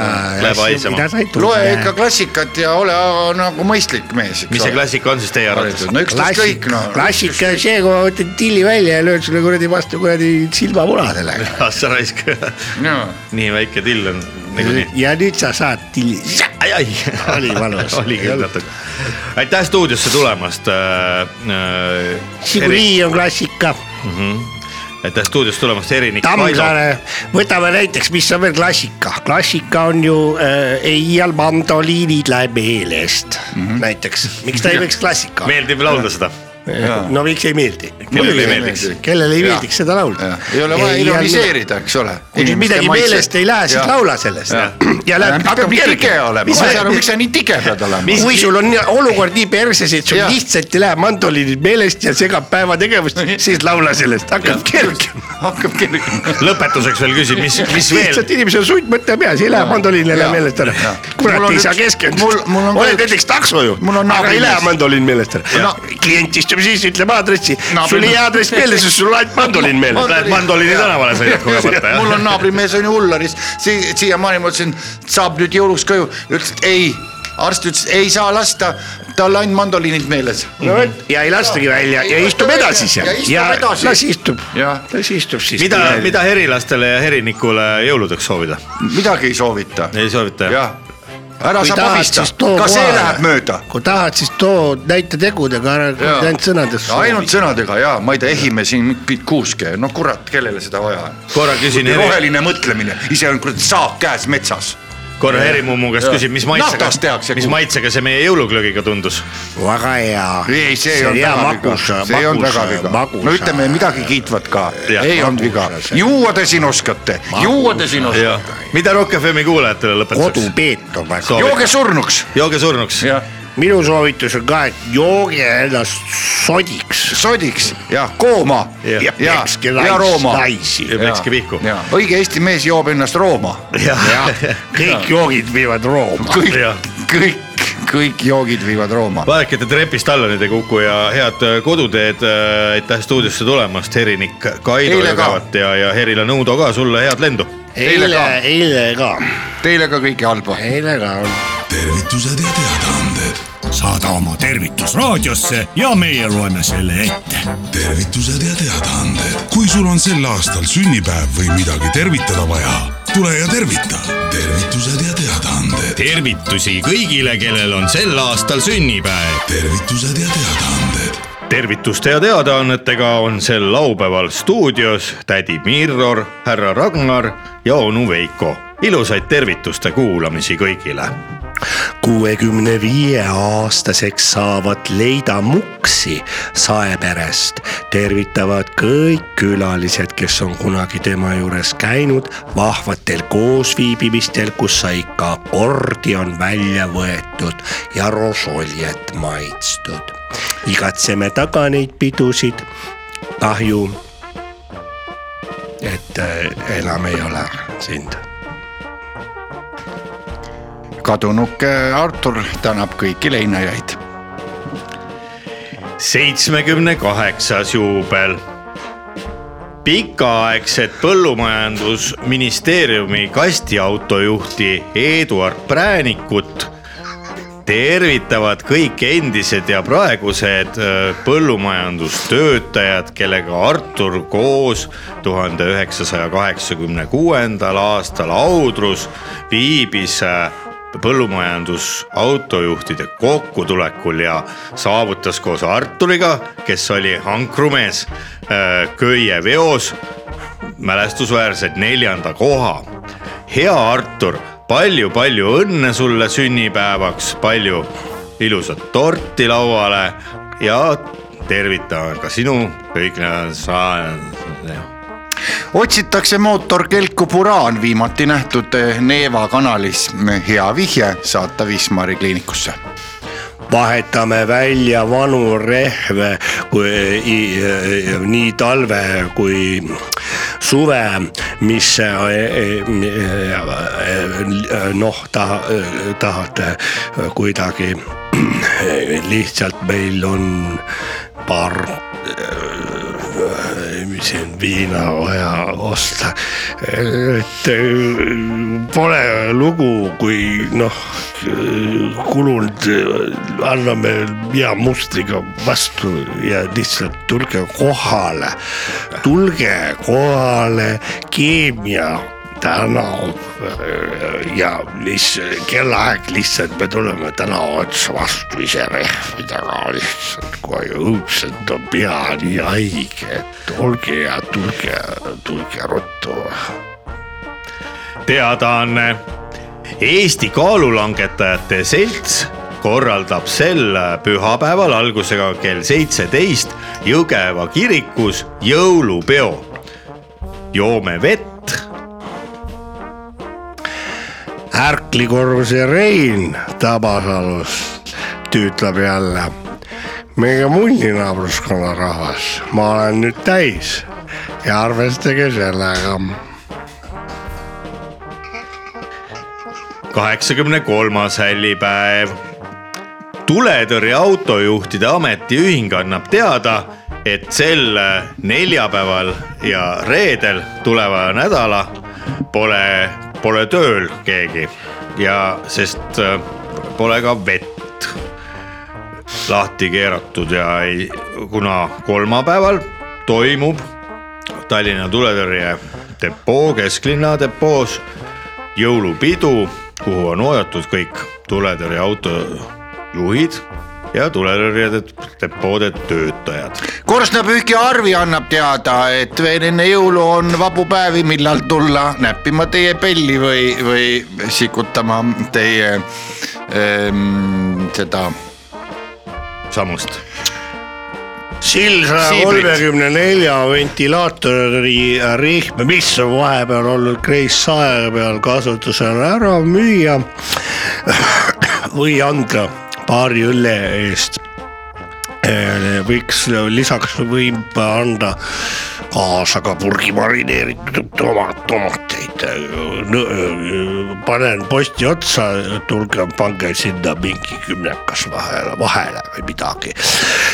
Läheb haisema. loe ikka klassikat ja ole a- nagu mõistlik mees , mis eks see . klassika on siis teie arvates ? no ükskõik kõik klassik , noh . klassika on see , kui ma võtan tilli välja ja löön sulle kuradi vastu kuradi silmapuna sellega . ah sa raisk , nii väike till on nagunii . ja nüüd sa saad tilli , ai , ai . Oli valus. oli Ei küll olnud. natuke . aitäh stuudiosse tulemast äh, . Äh, Žiguli on klassika aitäh stuudiosse tulemast , Erinik Kaido . Tammsaare , võtame näiteks , mis on veel klassika , klassika on ju äh, Eial mandoliinid läheb meelest mm Mhm. -hmm. näiteks , miks ta ei võiks klassika olla , meeldib laulda seda . no miks ei meeldi , kellele ei meeldiks ? kellele ei meeldiks seda laulda . ei ole vaja ironiseerida , eks ole . kui nüüd midagi meelest ei lähe , siis laula sellest ja, ja läheb , hakkab kerge tige olema , ma ei saa aru , miks sa nii tige pead olema . kui sul on nii- olukord nii perses , et sul ja. Jah. lihtsalt ei lähe mandoliinid meelest ja segab päevategevust , siis laula sellest , hakkab kergema . hakkab kerge . lõpetuseks veel küsin , mis , mis veel lihtsalt inimesel on sundmõte peas , ei lähe mandoliinile meelest ära . Mul kurat on ei üks- saa keskenduda mul- mul on . ka oled üks- näiteks taksojuht , mul on aga ei naabrimees. lähe mandoliin meelest ära Jaa. . klient istub siis , ütleb aadressi , sul ei Naabrimees. jää adress meelde , sest sul on ainult mandoliin meeles . lähed mandoliini tänavale sõidad kogemata mul jah ? on naabrimees on ju Ullaris , siiamaani ma ütlesin , saab nüüd jõuluks koju , ütles et ei , arst ütles , ei saa lasta , tal ainult mandoliinid meeles . no vot ja ei lastagi välja ja istub edasi seal Ja istub ja edasi. las istub , Jah. las istub siis . mida , mida herilastele ja herinikule jõuludeks soovida ? midagi ei soovita . ei soovita jah ? jah , ära kui sa tahad , pabista siis , too ka see kohale. läheb mööda . kui tahad , siis too näita tegudega , ära Jaa. ainult sõnades . ainult sõnadega ja ma ei tea , ehime siin kõik kuuske , no kurat , kellele seda vaja on . korra küsin heri , roheline mõtlemine , ise on kuradi saak käes metsas . korra herimummu käest Jaa. küsin , mis maitsega Naftast tehakse , mis kuul- maitsega see meie jõuluglögiga tundus ? väga hea . ei , see ei olnud hea väga viga magus , see ei olnud väga viga magus ,. no ütleme , midagi kiitvat ka , Jah. ei olnud viga . juua te siin oskate , juua te siin jah oskate ., mida Rock FM-i kuulajatele lõpetuseks ? kodupeet on väga Soovi- jooge surnuks . jooge surnuks . minu soovitus on ka , et jooge ennast sodiks sodiks ja kooma Jah. ja ja , pekske ja Rooma . naisi , ja pekske pihku . õige Eesti mees joob ennast Rooma , kõik joogid viivad Rooma . kõik Jah. , kõik , kõik joogid viivad Rooma . vaadake , et te trepist alla nüüd ei kuku ja head äh, koduteed , aitäh stuudiosse tulemast , Herinik Kaido Teile ka. Jõgevat ja , ja Herile Nõudo ka sulle head lendu . Eile eile ka. , eile ka , Teile ka kõike halba . eile ka on tervitused ja teadaanded . saada oma tervitus raadiosse ja meie loeme selle ette . tervitused ja teadaanded . kui sul on sel aastal sünnipäev või midagi tervitada vaja , tule ja tervita . tervitused ja teadaanded , tervitusi kõigile , kellel on sel aastal sünnipäev . tervitused ja teadaanded . tervituste ja teadaannetega on sel laupäeval stuudios tädi Mirror , härra Ragnar ja onu Veiko . ilusaid tervituste kuulamisi kõigile kuuekümne viie aastaseks saavad Leida Muksi saeperest , tervitavad kõik külalised , kes on kunagi tema juures käinud vahvatel koosviibimistel , kus sai ka ordion välja võetud ja rosoljet maitstud . igatseme taga neid pidusid , kahju , et äh, enam ei ole sind kadunuke Artur tänab kõiki leinajaid . seitsmekümne kaheksas juubel . pikaaegset põllumajandusministeeriumi kastiautojuhti Eduard Präänikut tervitavad kõik endised ja praegused öö, põllumajandustöötajad , kellega Artur koos tuhande üheksasaja kaheksakümne kuuendal aastal Audrus viibis öö, põllumajandusautojuhtide kokkutulekul ja saavutas koos Arturiga , kes oli ankrumees öö, köie veos mälestusväärselt neljanda koha . hea Artur palju, , palju-palju õnne sulle sünnipäevaks , palju ilusat torti lauale ja tervitan ka sinu kõik need sa- . otsitakse mootorkelku Buraan viimati nähtud Neeva kanalis . hea vihje saata Wismari kliinikusse . vahetame välja vanu rehve , kui i- i- nii talve kui suve , mis eh, eh, eh, noh , ta tahad kuidagi e, lihtsalt meil on paar mis siin viina vaja osta . et äh, pole lugu , kui noh , kulund äh, anname hea mustriga vastu ja lihtsalt tulge kohale , tulge kohale , keemia tänav äh, ja mis kellaaeg lihtsalt me tuleme tänava otsa vastu ise rehvidega lihtsalt , kui õudselt on pea nii haige , et olge ja tulge , tulge ruttu . teadaanne . Eesti Kaalulangetajate Selts korraldab sel pühapäeval algusega kell seitseteist Jõgeva kirikus jõulupeo . joome vett Ärkli korvuse Rein Tabasalus tüütab jälle . meie mullinaabruskonna rahvas , ma olen nüüd täis ja arvestage sellega kaheksakümne kolmas hällipäev . tuletõrjeautojuhtide ametiühing annab teada , et sel neljapäeval ja reedel tuleva nädala pole , pole tööl keegi ja sest äh, pole ka vett lahti keeratud ja ei , kuna kolmapäeval toimub Tallinna tuletõrje depoo , kesklinna depoos jõulupidu , kuhu on oodatud kõik tuletõrjeauto juhid ja tuletõrjede depoode töötajad . korstnapühki Arvi annab teada , et veel enne jõulu on vabu päevi , millal tulla näppima teie pelli või , või sikutama teie ähm, seda sammust . sild saja Siibrit. kolmekümne nelja ventilaatori rihm , mis on vahepeal olnud Kreis sae peal kasutusel ära müüa või anda paari õlle eest . võiks äh, lisaks võib anda kaasa ka purgi marineeritud tomat , tomateid . panen posti otsa , tulge pange sinna mingi kümnekas vahele , vahele või midagi .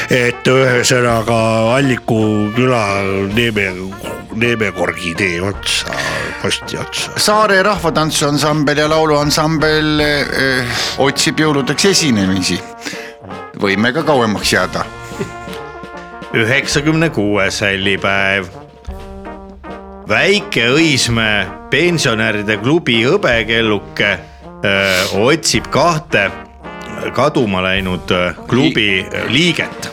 et ühesõnaga Alliku küla Neeme , Neemekorgi tee otsa , posti otsa . Saare rahvatantsuansambel ja lauluansambel eh, otsib jõuludeks esinemisi . võime ka kauemaks jääda . üheksakümne kuues hällipäev . väike Õismäe pensionäride klubi hõbekelluke öö, otsib kahte kaduma läinud öö, klubi liiget .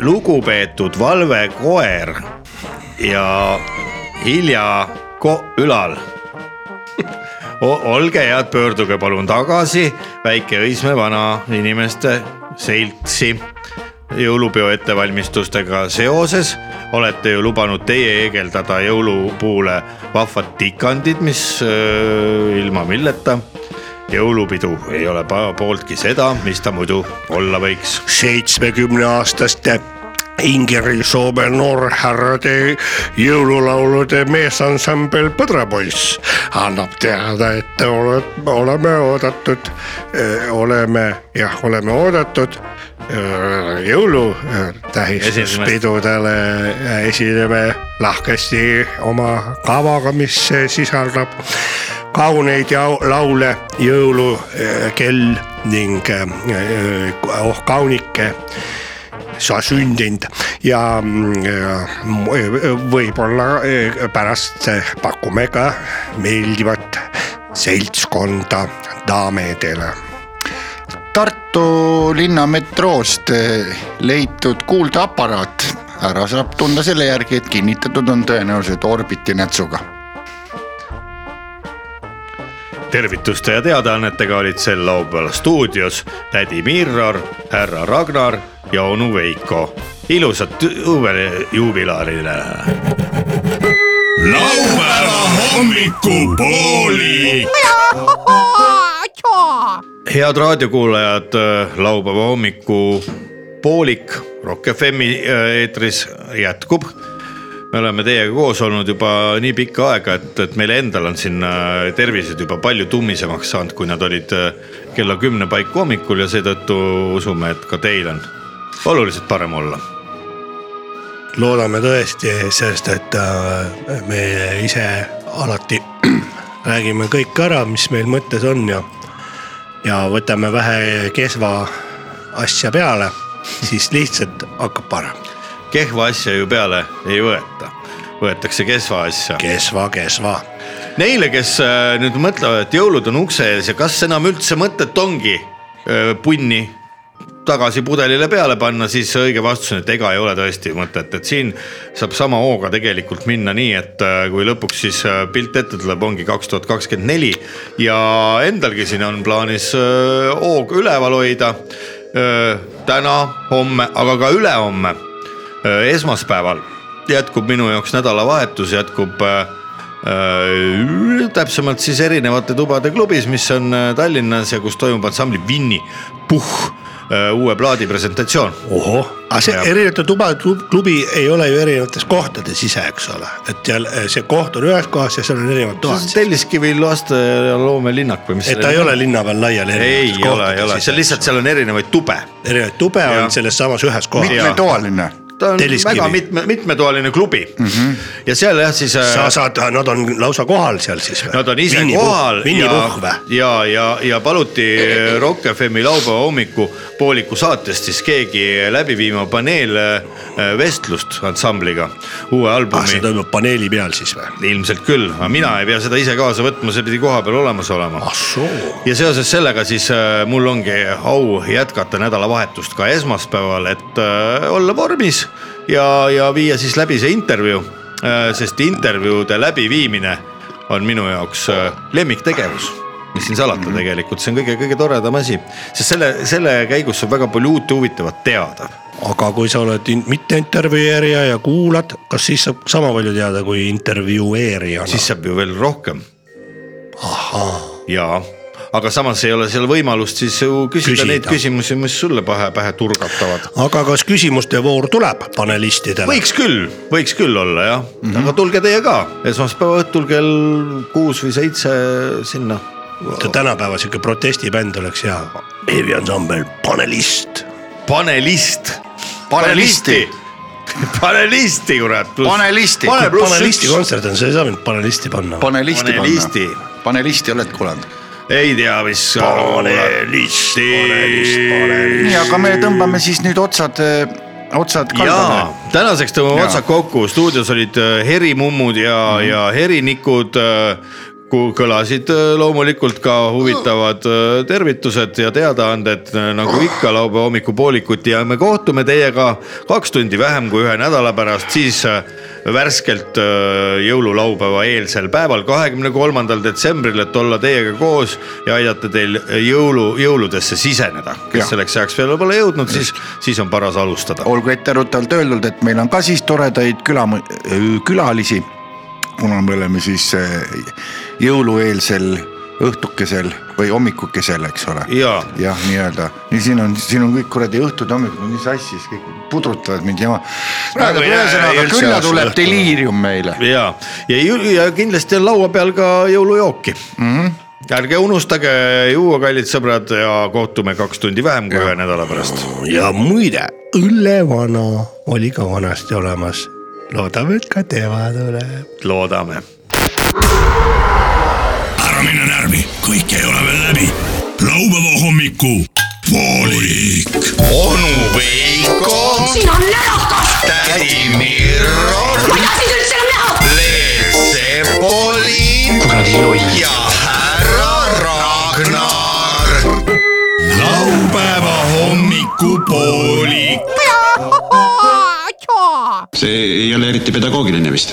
lugupeetud valvekoer ja Hilja Ko- Ülal O- olge head , pöörduge palun tagasi Väike-Õismäe vanainimeste seltsi jõulupeo ettevalmistustega seoses olete ju lubanud teie heegeldada jõulupuule vahvad tikandid , mis öö, ilma milleta jõulupidu ei ole pa- pooltki seda , mis ta muidu olla võiks . seitsmekümne aastaste Ingeri Soome noorhärrade jõululaulude meesansambel Põdrapoiss annab teada , et te olete , oleme oodatud , oleme jah , oleme oodatud eh, jõulutähistuspidudele äh, esineme lahkesti oma kavaga , mis sisaldab äh, kauneid jau- laule , jõulukell ning eh, oh kaunike sa sündinud ja mm, eh, võib-olla eh, pärast pakume ka meeldivat seltskonda daamidele Tartu linna metroost eh, leitud kuuldeaparaat , ära saab tunda selle järgi , et kinnitatud on tõenäoliselt Orbiti nätsuga . tervituste ja teadaannetega olid sel laupäeval stuudios tädi Mirror , härra Ragnar ja onu Veiko . ilusat õue juubilarile laupäeva hommikupooli . head raadiokuulajad , laupäeva hommiku poolik Rock FM-i äh, eetris jätkub . me oleme teiega koos olnud juba nii pikka aega , et , et meil endal on siin äh, tervised juba palju tummisemaks saanud , kui nad olid äh, kella kümne paiku hommikul ja seetõttu usume , et ka teil on oluliselt parem olla . loodame tõesti , sest et äh, me ise alati räägime kõik ära , mis meil mõttes on ja , ja võtame vähe kesva asja peale , siis lihtsalt hakkab parem . kehva asja ju peale ei võeta , võetakse kesva asja . kesva , kesva . Neile , kes äh, nüüd mõtlevad , et jõulud on ukse ees ja kas enam üldse mõtet ongi äh, punni tagasi pudelile peale panna , siis õige vastus on , et ega ei ole tõesti mõtet , et siin saab sama hooga tegelikult minna nii , et äh, kui lõpuks siis äh, pilt ette tuleb , ongi kaks tuhat kakskümmend neli ja endalgi siin on plaanis äh, hoog üleval hoida äh, täna , homme , aga ka ülehomme , Äh, esmaspäeval jätkub minu jaoks nädalavahetus , jätkub äh, Äh, täpsemalt siis erinevate tubade klubis , mis on äh, Tallinnas ja kus toimub ansambli Vinni puhh äh, uue plaadi presentatsioon . ohoh , aga see Ja. erinevate tubade klub- klubi ei ole ju erinevates kohtades ise , eks ole , et seal äh, see koht on ühes kohas ja seal on erinevad toad . Telliskivi laste ja loomelinnak või mis et ta ei ole linna peal laiali . ei ole , ei ole , see on lihtsalt , seal on erinevaid tube . erinevaid tube Jah. on selles samas ühes kohas . mitmetoaline , ta on Telliskivi. Mhm. väga mitme , mitmetoaline klubi mm -hmm. ja seal jah , siis äh, sa saad , nad on lausa kohal seal siis või ? Nad on ise kohal Vinni ja Puhh , või ? ja , ja , ja paluti Rock FM-i laupäeva hommikupooliku saatest siis keegi läbi viima paneelvestlust ansambliga uue ah , see albumi . toimub paneeli peal siis või ? ilmselt küll , aga mina ei pea seda ise kaasa võtma , see pidi kohapeal olemas olema . ah soo . ja seoses sellega siis äh, mul ongi au jätkata nädalavahetust ka esmaspäeval , et äh, olla vormis ja , ja viia siis läbi see intervjuu , sest intervjuude läbiviimine on minu jaoks äh, lemmiktegevus mis siin salata tegelikult , see on kõige-kõige toredam asi , sest selle , selle käigus saab väga palju uut ja huvitavat teada . aga kui sa oled in, mitte intervjueerija ja kuulad , kas siis saab sama palju teada kui intervjueerija ? siis saab ju veel rohkem ahhaa , jaa , aga samas ei ole seal võimalust siis ju küsida, Küsida. küsida. neid küsimusi , mis sulle pähe , pähe turgatavad . aga kas küsimuste voor tuleb panelistidele ? võiks küll , võiks küll olla jah mm , -hmm. aga tulge teie ka esmaspäeva õhtul kell kuus või seitse sinna . tänapäeval sihuke protestibänd oleks hea . beebiansambel Panelist . panelist . Panelisti. . panelisti , kurat . Panelisti. pane pluss panelisti üks . kontsert on , sa ei saa mind panelisti panna . panelisti Panelisti. panna . panelisti oled kuulanud ? ei tea , mis . panelisti . nii , aga me tõmbame siis nüüd otsad , otsad kaldale ja . tänaseks tõmbame Jaa. otsad kokku , stuudios olid äh, Heri mummud ja mm , -hmm. ja herinikud . kõlasid äh, loomulikult ka huvitavad äh, tervitused ja teadaanded äh, nagu ikka laupäeva hommikupoolikut ja me kohtume teiega kaks tundi vähem kui ühe nädala pärast , siis äh, värskelt äh, jõululaupäeva eelsel päeval , kahekümne kolmandal detsembril , et olla teiega koos ja aidata teil äh, jõulu , jõuludesse siseneda . kes Jah. selleks ajaks veel pole jõudnud , siis , siis on paras alustada . olgu etteruttavalt öeldud , et meil on ka siis toredaid küla , külalisi . kuna me oleme siis eh, jõulueelsel õhtukesel või hommikukesel , eks ole . Jaa. jah , nii-öelda , nii siin on , siin on kõik kuradi õhtud , hommikud on nii sassis , kõik putrutavad mind jama . ei näe ühesõnaga üldse külla asja tuleb õhtul. deliirium meile . ja , ja , ja kindlasti on laua peal ka jõulujooki mm . -hmm ärge unustage juua , kallid sõbrad ja kohtume kaks tundi vähem kui ühe nädala pärast . ja muide , õllevana oli ka vanasti olemas . loodame , et ka tema tuleb . loodame . ära ära mine närvi , kõik ei ole veel läbi . laupäeva hommiku poolik . onu Veiko , sina närakas , tädi Mirro , ma ei taha sind üldse enam näha . Leet Sepoli ja härra Ragnar . laupäeva hommiku poolik . see ei ole eriti pedagoogiline vist